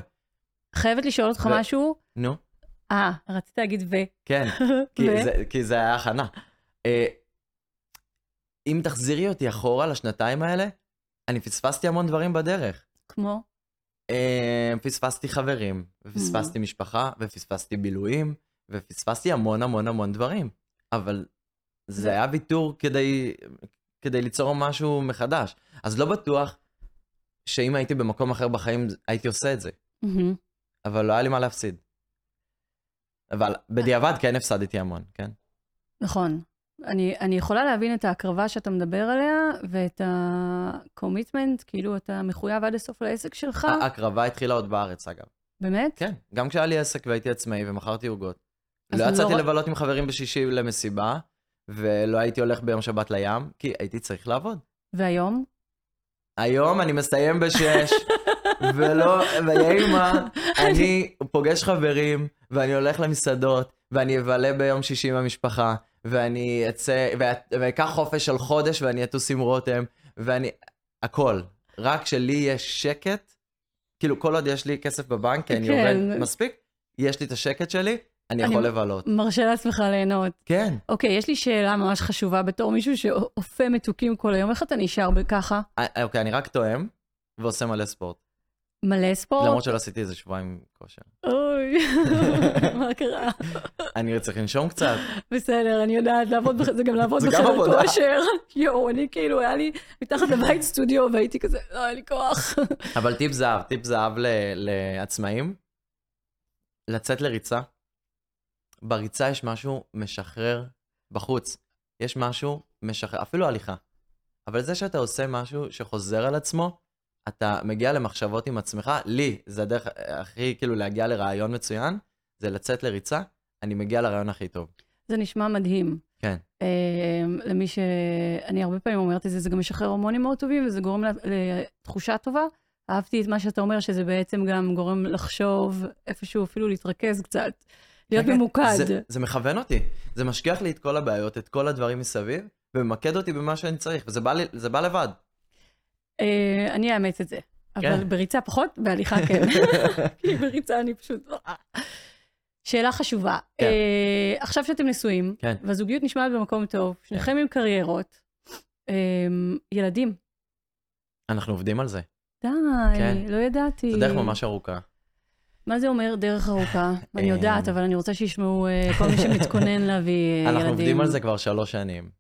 Speaker 1: חייבת לשאול אותך
Speaker 2: ו-
Speaker 1: משהו.
Speaker 2: נו,
Speaker 1: אה, רציתי להגיד ו...
Speaker 2: כן.
Speaker 1: ו-
Speaker 2: כי, זה, כי זה היה הכנה. אה, אם תחזירי אותי אחורה לשנתיים האלה, אני פספסתי המון דברים בדרך.
Speaker 1: כמו?
Speaker 2: אה, פספסתי חברים, ופספסתי משפחה, ופספסתי בילויים, ופספסתי המון המון המון דברים. אבל
Speaker 1: זה-
Speaker 2: זה היה ויתור כדי, כדי ליצור משהו מחדש. אז לא בטוח שאם הייתי במקום אחר בחיים, הייתי עושה את זה.
Speaker 1: מהמם.
Speaker 2: אבל לא היה לי מה להפסיד. אבל בדיעבד כן הפסדתי המון, כן?
Speaker 1: נכון. אני, אני יכולה להבין את ההקרבה שאתה מדבר עליה, ואת ה-commitment, כאילו אתה מחויב עד הסוף לעסק שלך.
Speaker 2: ההקרבה התחילה עוד בארץ, אגב.
Speaker 1: באמת?
Speaker 2: אה, כן, גם כשהיה לי עסק והייתי עצמאי ומכרתי עוגות.
Speaker 1: אז
Speaker 2: לא
Speaker 1: לא
Speaker 2: יצאתי
Speaker 1: ר-
Speaker 2: לבלות עם חברים בשישי למסיבה, ולא הייתי הולך ביום שבת לים, כי הייתי צריך לעבוד.
Speaker 1: והיום?
Speaker 2: היום אני מסיים בשש, ולא, ויהי מה, אני פוגש חברים, ואני הולך למסעדות, ואני אבלה ביום שישי עם המשפחה, ואני אצא, ואת- ואקח חופש של חודש, ואני אטוס עם רותם, ואני, הכל. רק כשלי יש שקט, כאילו כל עוד יש לי כסף בבנק, כי אני
Speaker 1: כן.
Speaker 2: עובד מספיק, יש לי את השקט שלי, אני
Speaker 1: אני-
Speaker 2: יכול לבלות.
Speaker 1: מרשה לעצמך ליהנות.
Speaker 2: כן.
Speaker 1: אוקיי, יש לי שאלה ממש חשובה בתור מישהו שאופה מתוקים כל היום, איך אתה נשאר בככה?
Speaker 2: אה, אוקיי, אני רק תואם, ועושה מלא ספורט.
Speaker 1: מלא ספורט?
Speaker 2: למרות שלא עשיתי איזה שבועיים כושר.
Speaker 1: אוי, מה קרה?
Speaker 2: אני צריך לנשום קצת.
Speaker 1: בסדר, אני יודעת, לעבוד, בח- זה גם לעבוד
Speaker 2: זה גם
Speaker 1: בחדר
Speaker 2: עבודה.
Speaker 1: כושר. יואו, אני כאילו, היה לי מתחת לבית סטודיו, והייתי כזה, לא, היה לי כוח.
Speaker 2: אבל טיפ זהב, טיפ זהב ל- לעצמאים, לצאת לריצה. בריצה יש משהו משחרר בחוץ. יש משהו משחרר, אפילו הליכה. אבל זה שאתה עושה משהו שחוזר על עצמו, אתה מגיע למחשבות עם עצמך. לי, זה הדרך הכי, כאילו, להגיע לרעיון מצוין, זה לצאת לריצה. אני מגיע לרעיון הכי טוב.
Speaker 1: זה נשמע מדהים.
Speaker 2: כן.
Speaker 1: אמ, למי ש... אני הרבה פעמים אומרת את זה, זה גם משחרר הורמונים מאוד טובים, וזה גורם ל- לתחושה טובה. אהבתי את מה שאתה אומר, שזה בעצם גם גורם לחשוב איפשהו, אפילו להתרכז קצת, להיות
Speaker 2: כן, כן.
Speaker 1: ממוקד.
Speaker 2: זה, זה מכוון אותי. זה משכיח לי את כל הבעיות, את כל הדברים מסביב, וממקד אותי במה שאני צריך, וזה בא, לי, זה בא לבד.
Speaker 1: אה, אני אאמץ את זה. אבל
Speaker 2: כן.
Speaker 1: בריצה פחות, בהליכה כן. כי בריצה אני פשוט... לא- שאלה חשובה.
Speaker 2: כן.
Speaker 1: אה, עכשיו שאתם נשואים,
Speaker 2: כן.
Speaker 1: והזוגיות נשמעת במקום טוב, שניכם עם קריירות, אה, ילדים.
Speaker 2: אנחנו עובדים על זה.
Speaker 1: די,
Speaker 2: כן.
Speaker 1: לא ידעתי.
Speaker 2: זו דרך ממש
Speaker 1: אה,
Speaker 2: ארוכה.
Speaker 1: מה זה אומר דרך ארוכה? אני
Speaker 2: אה,
Speaker 1: יודעת, אבל אני רוצה שישמעו אה, כל מי שמתכונן להביא אה, ילדים.
Speaker 2: אנחנו עובדים על זה כבר שלוש שנים.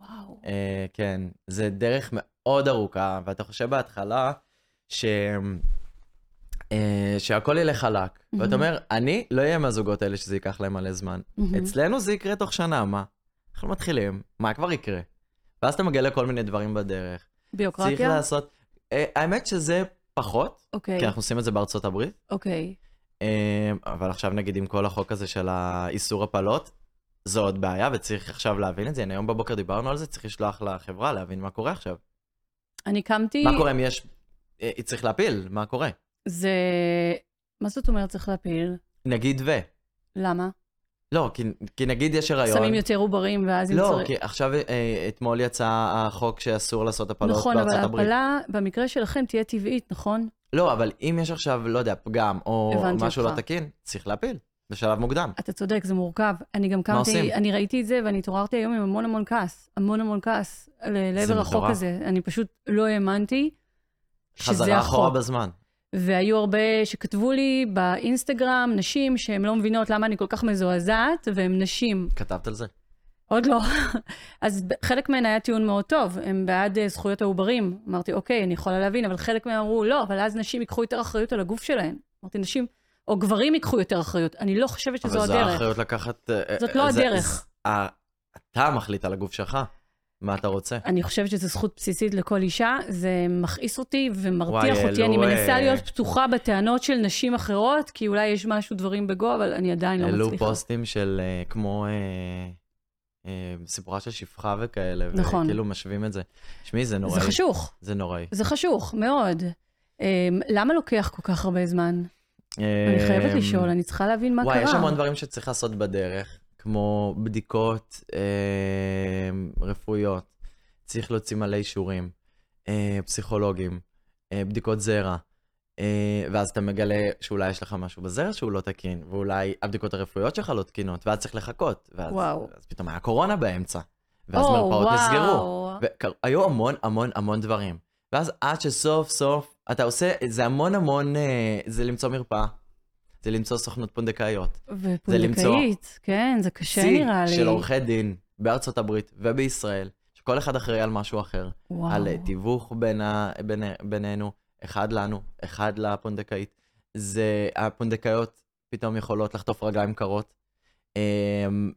Speaker 1: וואו.
Speaker 2: אה, כן, זה דרך מאוד ארוכה, ואתה חושב בהתחלה ש... אה, שהכל ילך חלק, ואתה אומר, אני לא אהיה מהזוגות האלה שזה ייקח להם מלא זמן.
Speaker 1: מהמם.
Speaker 2: אצלנו זה יקרה תוך שנה, מה? אנחנו מתחילים, מה כבר יקרה? ואז אתה מגלה כל מיני דברים בדרך. צריך
Speaker 1: ביוקרטיה?
Speaker 2: לעשות... כן. אה, האמת שזה פחות,
Speaker 1: אוקיי,
Speaker 2: כי אנחנו עושים את זה בארצות הברית,
Speaker 1: אוקיי.
Speaker 2: אה, אבל עכשיו נגיד עם כל החוק הזה של האיסור הפלות, זו עוד בעיה וצריך עכשיו להבין את זה. הנה היום בבוקר דיברנו על זה, צריך לשלוח לחברה להבין מה קורה עכשיו.
Speaker 1: אני קמתי...
Speaker 2: מה קורה אם יש... אה, צריך להפיל, מה קורה?
Speaker 1: זה... מה זאת אומרת צריך להפיל?
Speaker 2: נגיד ו...
Speaker 1: למה?
Speaker 2: לא, כי, כי נגיד יש הריון.
Speaker 1: שמים יותר עוברים ואז אם
Speaker 2: לא,
Speaker 1: צריך...
Speaker 2: כי עכשיו, אה, אתמול יצא החוק שאסור לעשות הפלות
Speaker 1: נכון, אבל
Speaker 2: בארצות הברית.
Speaker 1: ההפלה במקרה שלכם תהיה טבעית, נכון?
Speaker 2: לא, אבל אם יש עכשיו, לא יודע, פגם או
Speaker 1: הבנתי
Speaker 2: משהו
Speaker 1: אותך.
Speaker 2: לא תקין, צריך להפיל, בשלב מוקדם.
Speaker 1: אתה צודק, זה מורכב. אני גם
Speaker 2: עושים?
Speaker 1: קמתי, אני ראיתי את זה ואני התעוררתי היום עם המון המון כעס. המון המון כעס ל- לעבר החוק
Speaker 2: מטורף.
Speaker 1: הזה. אני פשוט לא האמנתי שזה
Speaker 2: חזרה אחורה
Speaker 1: החוק.
Speaker 2: בזמן.
Speaker 1: והיו הרבה שכתבו לי באינסטגרם, נשים שהן לא מבינות למה אני כל כך מזועזעת, והן נשים.
Speaker 2: כתבת על זה?
Speaker 1: עוד לא. אז ב- חלק מהן היה טיעון מאוד טוב, הם בעד אה, זכויות העוברים. אמרתי, אוקיי, אני יכולה להבין, אבל חלק מהם אמרו, לא, אבל אז נשים ייקחו יותר אחריות על הגוף שלהן. אמרתי, נשים, או גברים ייקחו יותר אחריות. אני לא חושבת שזו
Speaker 2: אבל זו
Speaker 1: הדרך.
Speaker 2: האחריות לקחת... אה,
Speaker 1: זאת
Speaker 2: אה,
Speaker 1: לא
Speaker 2: זה-
Speaker 1: הדרך.
Speaker 2: זה- אה, אתה מחליט על הגוף שלך, מה אתה רוצה.
Speaker 1: אני חושבת שזו זכות בסיסית לכל אישה, זה מכעיס אותי
Speaker 2: וואי,
Speaker 1: ומרתיח אותי.
Speaker 2: אלו,
Speaker 1: אני מנסה
Speaker 2: אה,
Speaker 1: להיות פתוחה בטענות של נשים אחרות, כי אולי יש משהו דברים בגו, אבל אני עדיין לא
Speaker 2: העלו
Speaker 1: מצליחה.
Speaker 2: פוסטים של אה, כמו אה, אה, סיפורה של שפחה וכאלה,
Speaker 1: נכון.
Speaker 2: וכאילו משווים את זה. שמעי, זה
Speaker 1: זה
Speaker 2: נוראי.
Speaker 1: חשוך,
Speaker 2: זה נוראי.
Speaker 1: זה חשוך, מאוד. אמ, למה לוקח כל כך הרבה זמן? אני חייבת
Speaker 2: אה,
Speaker 1: לשאול, אני צריכה להבין מה קרה.
Speaker 2: וואי, יש המון דברים שצריך לעשות בדרך, כמו בדיקות אה, רפואיות, צריך להוציא מלא אישורים, אה, פסיכולוגים, אה, בדיקות זרע, אה, ואז אתה מגלה שאולי יש לך משהו בזרע שהוא לא תקין, ואולי הבדיקות הרפואיות שלך לא תקינות, ואז צריך לחכות, ואז,
Speaker 1: וואו.
Speaker 2: ואז פתאום היה קורונה באמצע, ואז
Speaker 1: או,
Speaker 2: מרפאות
Speaker 1: וואו.
Speaker 2: נסגרו. והיו המון המון המון דברים. ואז עד שסוף סוף אתה עושה, זה המון המון, אה, זה למצוא מרפאה, זה למצוא סוכנות פונדקאיות.
Speaker 1: ופונדקאית, כן, זה קשה נראה לי.
Speaker 2: של עורכי דין בארצות הברית ובישראל, שכל אחד אחראי על משהו אחר,
Speaker 1: וואו.
Speaker 2: וואו. על אה, תיווך בין ה, בין, בינינו, אחד לנו, אחד לפונדקאית. זה, הפונדקאיות פתאום יכולות לחטוף רגליים קרות. אה,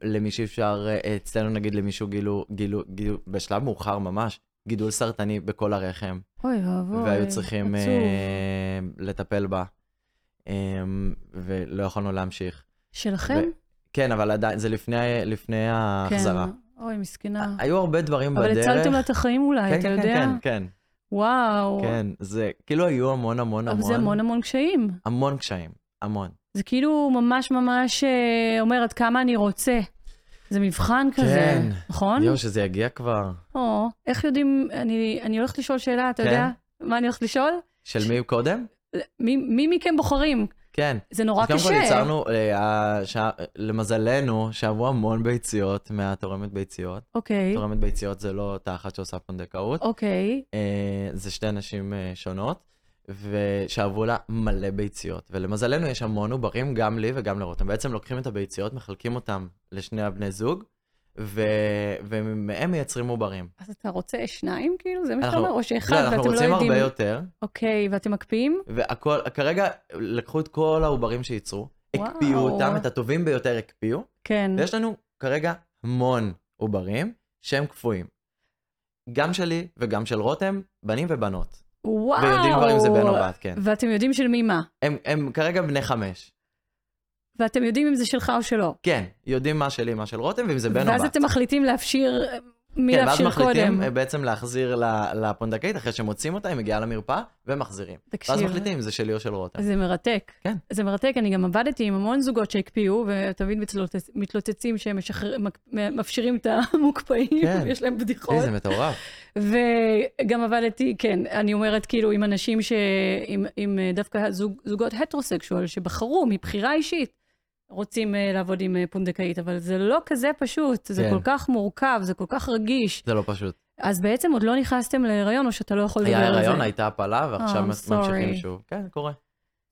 Speaker 2: למי שאפשר, אה, אצלנו נגיד למישהו גילו, גילו, גילו, בשלב מאוחר ממש, גידול סרטני בכל הרחם.
Speaker 1: אוי ואבוי,
Speaker 2: והיו צריכים
Speaker 1: עצוב.
Speaker 2: אה, לטפל בה, אה, ולא יכולנו להמשיך.
Speaker 1: שלכם?
Speaker 2: כן, אבל עדיין, זה לפני, לפני ההחזרה.
Speaker 1: כן. אוי, מסכנה.
Speaker 2: היו הרבה דברים
Speaker 1: אבל
Speaker 2: אה, בדרך.
Speaker 1: הצלתם לה את החיים אולי,
Speaker 2: כן,
Speaker 1: אתה
Speaker 2: כן,
Speaker 1: יודע?
Speaker 2: כן, כן,
Speaker 1: וואו.
Speaker 2: כן, זה כאילו היו המון המון
Speaker 1: אבל
Speaker 2: המון,
Speaker 1: זה המון המון קשיים.
Speaker 2: המון קשיים, המון.
Speaker 1: זה כאילו ממש ממש אה, אומר עד כמה אני רוצה. זה מבחן כזה,
Speaker 2: כן.
Speaker 1: נכון?
Speaker 2: יואו, שזה יגיע כבר.
Speaker 1: או, איך יודעים, אני, אני הולכת לשאול שאלה, אתה
Speaker 2: כן.
Speaker 1: יודע? מה אני הולכת לשאול?
Speaker 2: של מי קודם?
Speaker 1: מי, מי מכם בוחרים?
Speaker 2: כן.
Speaker 1: זה נורא
Speaker 2: אז קודם
Speaker 1: קשה.
Speaker 2: כל יצרנו, אה, השע- למזלנו, שאבו המון ביציות מהתורמת ביציות.
Speaker 1: אוקיי,
Speaker 2: תורמת ביציות זה לא אותה אחת שעושה פונדקאות.
Speaker 1: אוקיי.
Speaker 2: אה, זה שתי נשים אה, שונות, ושאבו לה מלא ביציות. ולמזלנו יש המון עוברים, גם לי וגם לרותם. בעצם לוקחים את הביציות, מחלקים אותם לשני הבני זוג, ו... ומהם מייצרים עוברים.
Speaker 1: אז אתה רוצה שניים, כאילו? זה מה שאתה
Speaker 2: אנחנו-
Speaker 1: אומר? או שאחד,
Speaker 2: לא,
Speaker 1: ואתם לא
Speaker 2: אנחנו
Speaker 1: יודעים.
Speaker 2: רוצים הרבה יותר,
Speaker 1: אוקיי, ואתם מקפיאים?
Speaker 2: והכל, כרגע לקחו את כל העוברים שייצרו, הקפיאו
Speaker 1: וואו.
Speaker 2: אותם, את הטובים ביותר הקפיאו,
Speaker 1: כן.
Speaker 2: ויש לנו כרגע המון עוברים שהם קפואים. גם שלי וגם של רותם, בנים ובנות.
Speaker 1: וואו.
Speaker 2: ויודעים כבר אם זה בן או בת, כן.
Speaker 1: ואתם יודעים של מי מה.
Speaker 2: הם, הם כרגע בני חמש.
Speaker 1: ואתם יודעים אם זה שלך או שלא.
Speaker 2: כן, יודעים מה שלי, מה של רותם, ואם זה בן או
Speaker 1: ואז
Speaker 2: בת.
Speaker 1: אתם מחליטים להפשיר, מי
Speaker 2: כן, ואז
Speaker 1: להפשיר
Speaker 2: מחליטים
Speaker 1: קודם.
Speaker 2: אה, בעצם להחזיר ל- לפונדקאית, אחרי שמוצאים אותה, היא מגיעה למרפאה, ומחזירים. ואז
Speaker 1: תקשיב,
Speaker 2: מחליטים אם זה שלי או של רותם.
Speaker 1: זה מרתק.
Speaker 2: כן.
Speaker 1: זה מרתק, אני גם עבדתי עם המון זוגות שהקפיאו, ותמיד מתלוצצ- מתלוצצים שהם משחרר- מק- מפשירים את המוקפאים,
Speaker 2: כן.
Speaker 1: יש להם בדיחות.
Speaker 2: אה, זה מטורף.
Speaker 1: וגם עבדתי, כן, אני אומרת כאילו עם אנשים ש... עם, עם אה, דווקא זוג, זוגות הטרוסקשואל שבחרו מבחירה אישית, רוצים אה, לעבוד עם אה, פונדקאית, אבל זה לא כזה פשוט, זה
Speaker 2: כן.
Speaker 1: כל כך מורכב, זה כל כך רגיש.
Speaker 2: זה לא פשוט.
Speaker 1: אז בעצם עוד לא נכנסתם להיריון, או שאתה לא יכול לדבר
Speaker 2: היה
Speaker 1: על זה.
Speaker 2: הריון, הייתה הפלה, ועכשיו
Speaker 1: I'm
Speaker 2: ממשיכים
Speaker 1: sorry.
Speaker 2: שוב. כן, קורה.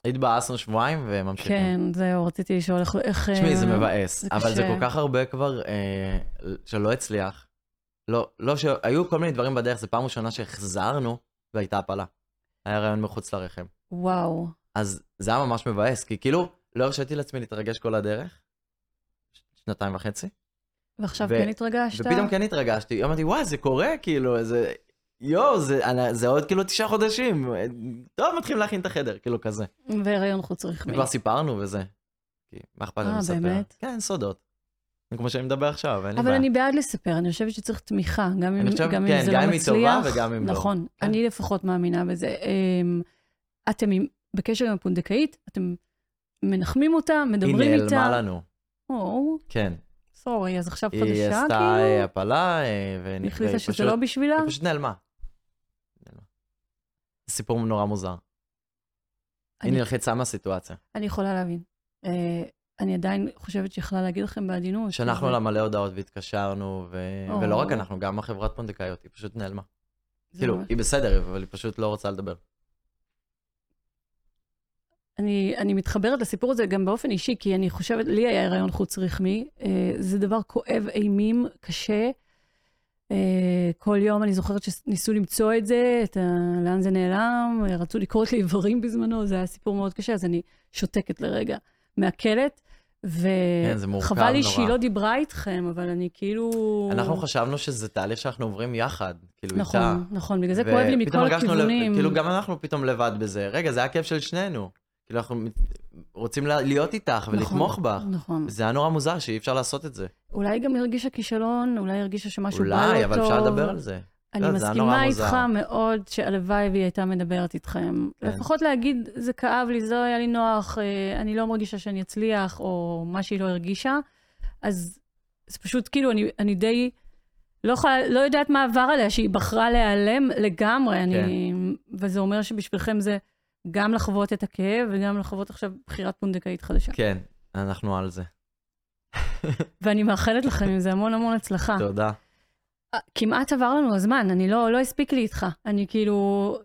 Speaker 2: התבאסנו שבועיים וממשיכים.
Speaker 1: כן, זהו, רציתי לשאול איך... איך,
Speaker 2: תשמעי, זה
Speaker 1: אה,
Speaker 2: מבאס,
Speaker 1: זה
Speaker 2: אבל זה
Speaker 1: קשה.
Speaker 2: כל כך הרבה כבר אה, שלא הצליח. לא, לא, שהיו כל מיני דברים בדרך, זו פעם ראשונה שהחזרנו, והייתה הפלה. היה רעיון מחוץ לרחם.
Speaker 1: וואו.
Speaker 2: אז זה היה ממש מבאס, כי כאילו, לא הרשיתי לעצמי להתרגש כל הדרך, ש- שנתיים וחצי,
Speaker 1: ועכשיו
Speaker 2: ו-
Speaker 1: כן התרגשת?
Speaker 2: ופתאום כן התרגשתי, אמרתי, וואי, זה קורה, כאילו, זה... יואו, זה, אני- זה עוד כאילו תשעה חודשים, טוב, מתחילים להכין את החדר, כאילו כזה.
Speaker 1: והיריון חוץ רחמי.
Speaker 2: כבר סיפרנו וזה. כי מה אכפת לנו
Speaker 1: אה,
Speaker 2: לספר?
Speaker 1: באמת?
Speaker 2: כן, סודות. כמו שאני מדבר עכשיו, אין לי
Speaker 1: אבל
Speaker 2: בעיה.
Speaker 1: אני בעד לספר, אני חושבת שצריך תמיכה, גם אם,
Speaker 2: אני חושב-
Speaker 1: גם
Speaker 2: כן,
Speaker 1: אם זה
Speaker 2: גם
Speaker 1: לא
Speaker 2: אם היא
Speaker 1: מצליח.
Speaker 2: טובה וגם אם לא.
Speaker 1: נכון,
Speaker 2: כן.
Speaker 1: אני לפחות מאמינה בזה. אמ, אתם עם- בקשר עם הפונדקאית, אתם מנחמים אותה, מדברים
Speaker 2: היא
Speaker 1: איתה.
Speaker 2: נעלמה לנו,
Speaker 1: או,
Speaker 2: כן.
Speaker 1: סורי, אז עכשיו
Speaker 2: היא
Speaker 1: חדשה,
Speaker 2: עשתה אה,
Speaker 1: כאילו?
Speaker 2: הפלה, אה, ונ-
Speaker 1: היא החליטה
Speaker 2: והיא
Speaker 1: שזה
Speaker 2: פשוט-
Speaker 1: לא בשבילה?
Speaker 2: היא פשוט נעלמה. נעלמה. זה סיפור נורא מוזר. היא
Speaker 1: אני- אוקיי,
Speaker 2: נלחצה מהסיטואציה.
Speaker 1: אני יכולה להבין. אה, אני עדיין חושבת שיכולה להגיד לכם בעדינות. כאילו,
Speaker 2: שלחנו
Speaker 1: אבל
Speaker 2: לה מלא הודעות והתקשרנו, ו-
Speaker 1: או.
Speaker 2: ולא רק אנחנו, גם החברת פונדקאיות, היא פשוט נעלמה.
Speaker 1: זה
Speaker 2: כאילו,
Speaker 1: ממש-
Speaker 2: היא בסדר, אבל היא פשוט לא רוצה לדבר.
Speaker 1: אני, אני מתחברת לסיפור הזה גם באופן אישי, כי אני חושבת, לי היה הריון חוץ רחמי, אה, זה דבר כואב אימים, קשה. אה, כל יום אני זוכרת שניסו למצוא את זה, את ה... לאן זה נעלם, אה, רצו לקרות לי איברים בזמנו, זה היה סיפור מאוד קשה, אז אני שותקת לרגע, מעכלת.
Speaker 2: כן, זה מורכב
Speaker 1: וחבל לי
Speaker 2: נורא.
Speaker 1: שהיא לא דיברה איתכם, אבל אני כאילו...
Speaker 2: אנחנו חשבנו שזה תהליך שאנחנו עוברים יחד, כאילו
Speaker 1: נכון,
Speaker 2: איתה.
Speaker 1: נכון, בגלל זה
Speaker 2: ו-
Speaker 1: כואב לי
Speaker 2: פתאום
Speaker 1: מכל
Speaker 2: הרגשנו לב-
Speaker 1: הכיוונים.
Speaker 2: כאילו, גם אנחנו פתאום לבד בזה. רגע, זה הכיף של שנינו. כאילו, אנחנו מת- רוצים לה- להיות איתך
Speaker 1: נכון,
Speaker 2: ולתמוך בך.
Speaker 1: נכון.
Speaker 2: זה היה נורא מוזר שאי אפשר לעשות את זה.
Speaker 1: אולי גם הרגישה כישלון, אולי הרגישה שמשהו בא לא טוב.
Speaker 2: אולי, אבל אפשר לדבר על זה.
Speaker 1: אני
Speaker 2: לא, זה היה נורא
Speaker 1: מסכימה
Speaker 2: מוזר.
Speaker 1: איתך מאוד שהלוואי והיא הייתה מדברת איתכם.
Speaker 2: כן.
Speaker 1: לפחות להגיד, זה כאב לי, זה לא היה לי נוח, אה, אני לא מרגישה שאני אצליח, או מה שהיא לא הרגישה. אז זה פשוט כאילו, אני, אני די לא, יכולה, לא יודעת מה עבר עליה, שהיא בחרה להיעלם לגמרי. אני,
Speaker 2: כן.
Speaker 1: וזה אומר שבשבילכם זה גם לחוות את הכאב, וגם לחוות עכשיו בחירת פונדקאית חדשה.
Speaker 2: כן, אנחנו על זה.
Speaker 1: אה. ואני מאחלת לכם עם זה המון המון הצלחה.
Speaker 2: תודה.
Speaker 1: אה, כמעט עבר לנו הזמן, אני לא, לא הספיק לי איתך. אני כאילו,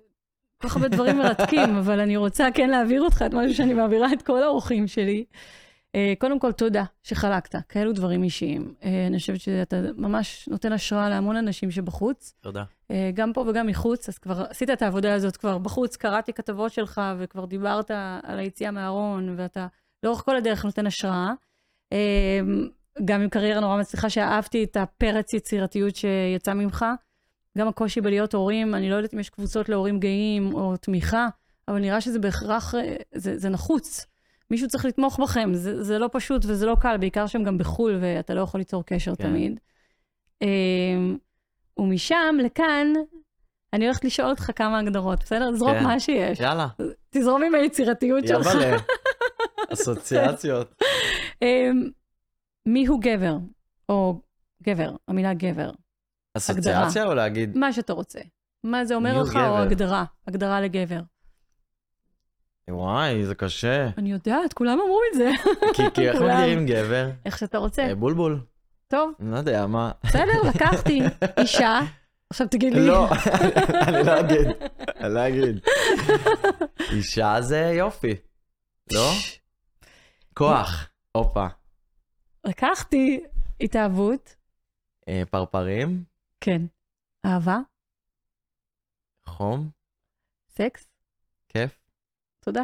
Speaker 1: כל כך הרבה דברים מרתקים, אבל אני רוצה כן להעביר אותך את משהו שאני מעבירה את כל האורחים שלי. אה, קודם כל, תודה שחלקת, כאלו דברים אישיים. אה, אני חושבת שאתה ממש נותן השראה להמון אנשים שבחוץ,
Speaker 2: תודה.
Speaker 1: אה, גם פה וגם מחוץ, אז כבר עשית את העבודה הזאת כבר בחוץ, קראתי כתבות שלך וכבר דיברת על היציאה מהארון, ואתה לאורך כל הדרך נותן השראה. אה, גם עם קריירה נורא מצליחה, שאהבתי את הפרץ יצירתיות שיצא ממך. גם הקושי בלהיות הורים, אני לא יודעת אם יש קבוצות להורים גאים או תמיכה, אבל נראה שזה בהכרח, אה, זה, זה נחוץ. מישהו צריך לתמוך בכם, זה, זה לא פשוט וזה לא קל, בעיקר שהם גם בחו"ל ואתה לא יכול ליצור קשר
Speaker 2: כן.
Speaker 1: כן. תמיד. אמ, ומשם לכאן, אני הולכת לשאול אותך כמה הגדרות, בסדר? זרוק
Speaker 2: כן.
Speaker 1: מה שיש.
Speaker 2: יאללה,
Speaker 1: תזרום עם היצירתיות שלך.
Speaker 2: יבלה. אסוציאציות.
Speaker 1: אמ, מי הוא גבר? או גבר, המילה גבר.
Speaker 2: אסוציאציה או להגיד?
Speaker 1: מה שאתה רוצה. מה זה
Speaker 2: מי
Speaker 1: אומר
Speaker 2: הוא
Speaker 1: לך,
Speaker 2: גבר?
Speaker 1: או הגדרה, הגדרה לגבר.
Speaker 2: וואי, זה קשה.
Speaker 1: אני יודעת, כולם אמרו את זה.
Speaker 2: כי כי איך
Speaker 1: כולם.
Speaker 2: מגדירים גבר?
Speaker 1: איך שאתה רוצה.
Speaker 2: אה, בולבול.
Speaker 1: טוב,
Speaker 2: אני לא יודע, מה?
Speaker 1: בסדר, לקחתי אישה. עכשיו תגיד לי.
Speaker 2: לא, אני לא אגיד. אני לא אגיד. אישה זה יופי. לא? כוח. הופה.
Speaker 1: לקחתי התאהבות.
Speaker 2: אה, פרפרים,
Speaker 1: כן. אהבה,
Speaker 2: חום,
Speaker 1: סקס,
Speaker 2: כיף.
Speaker 1: תודה.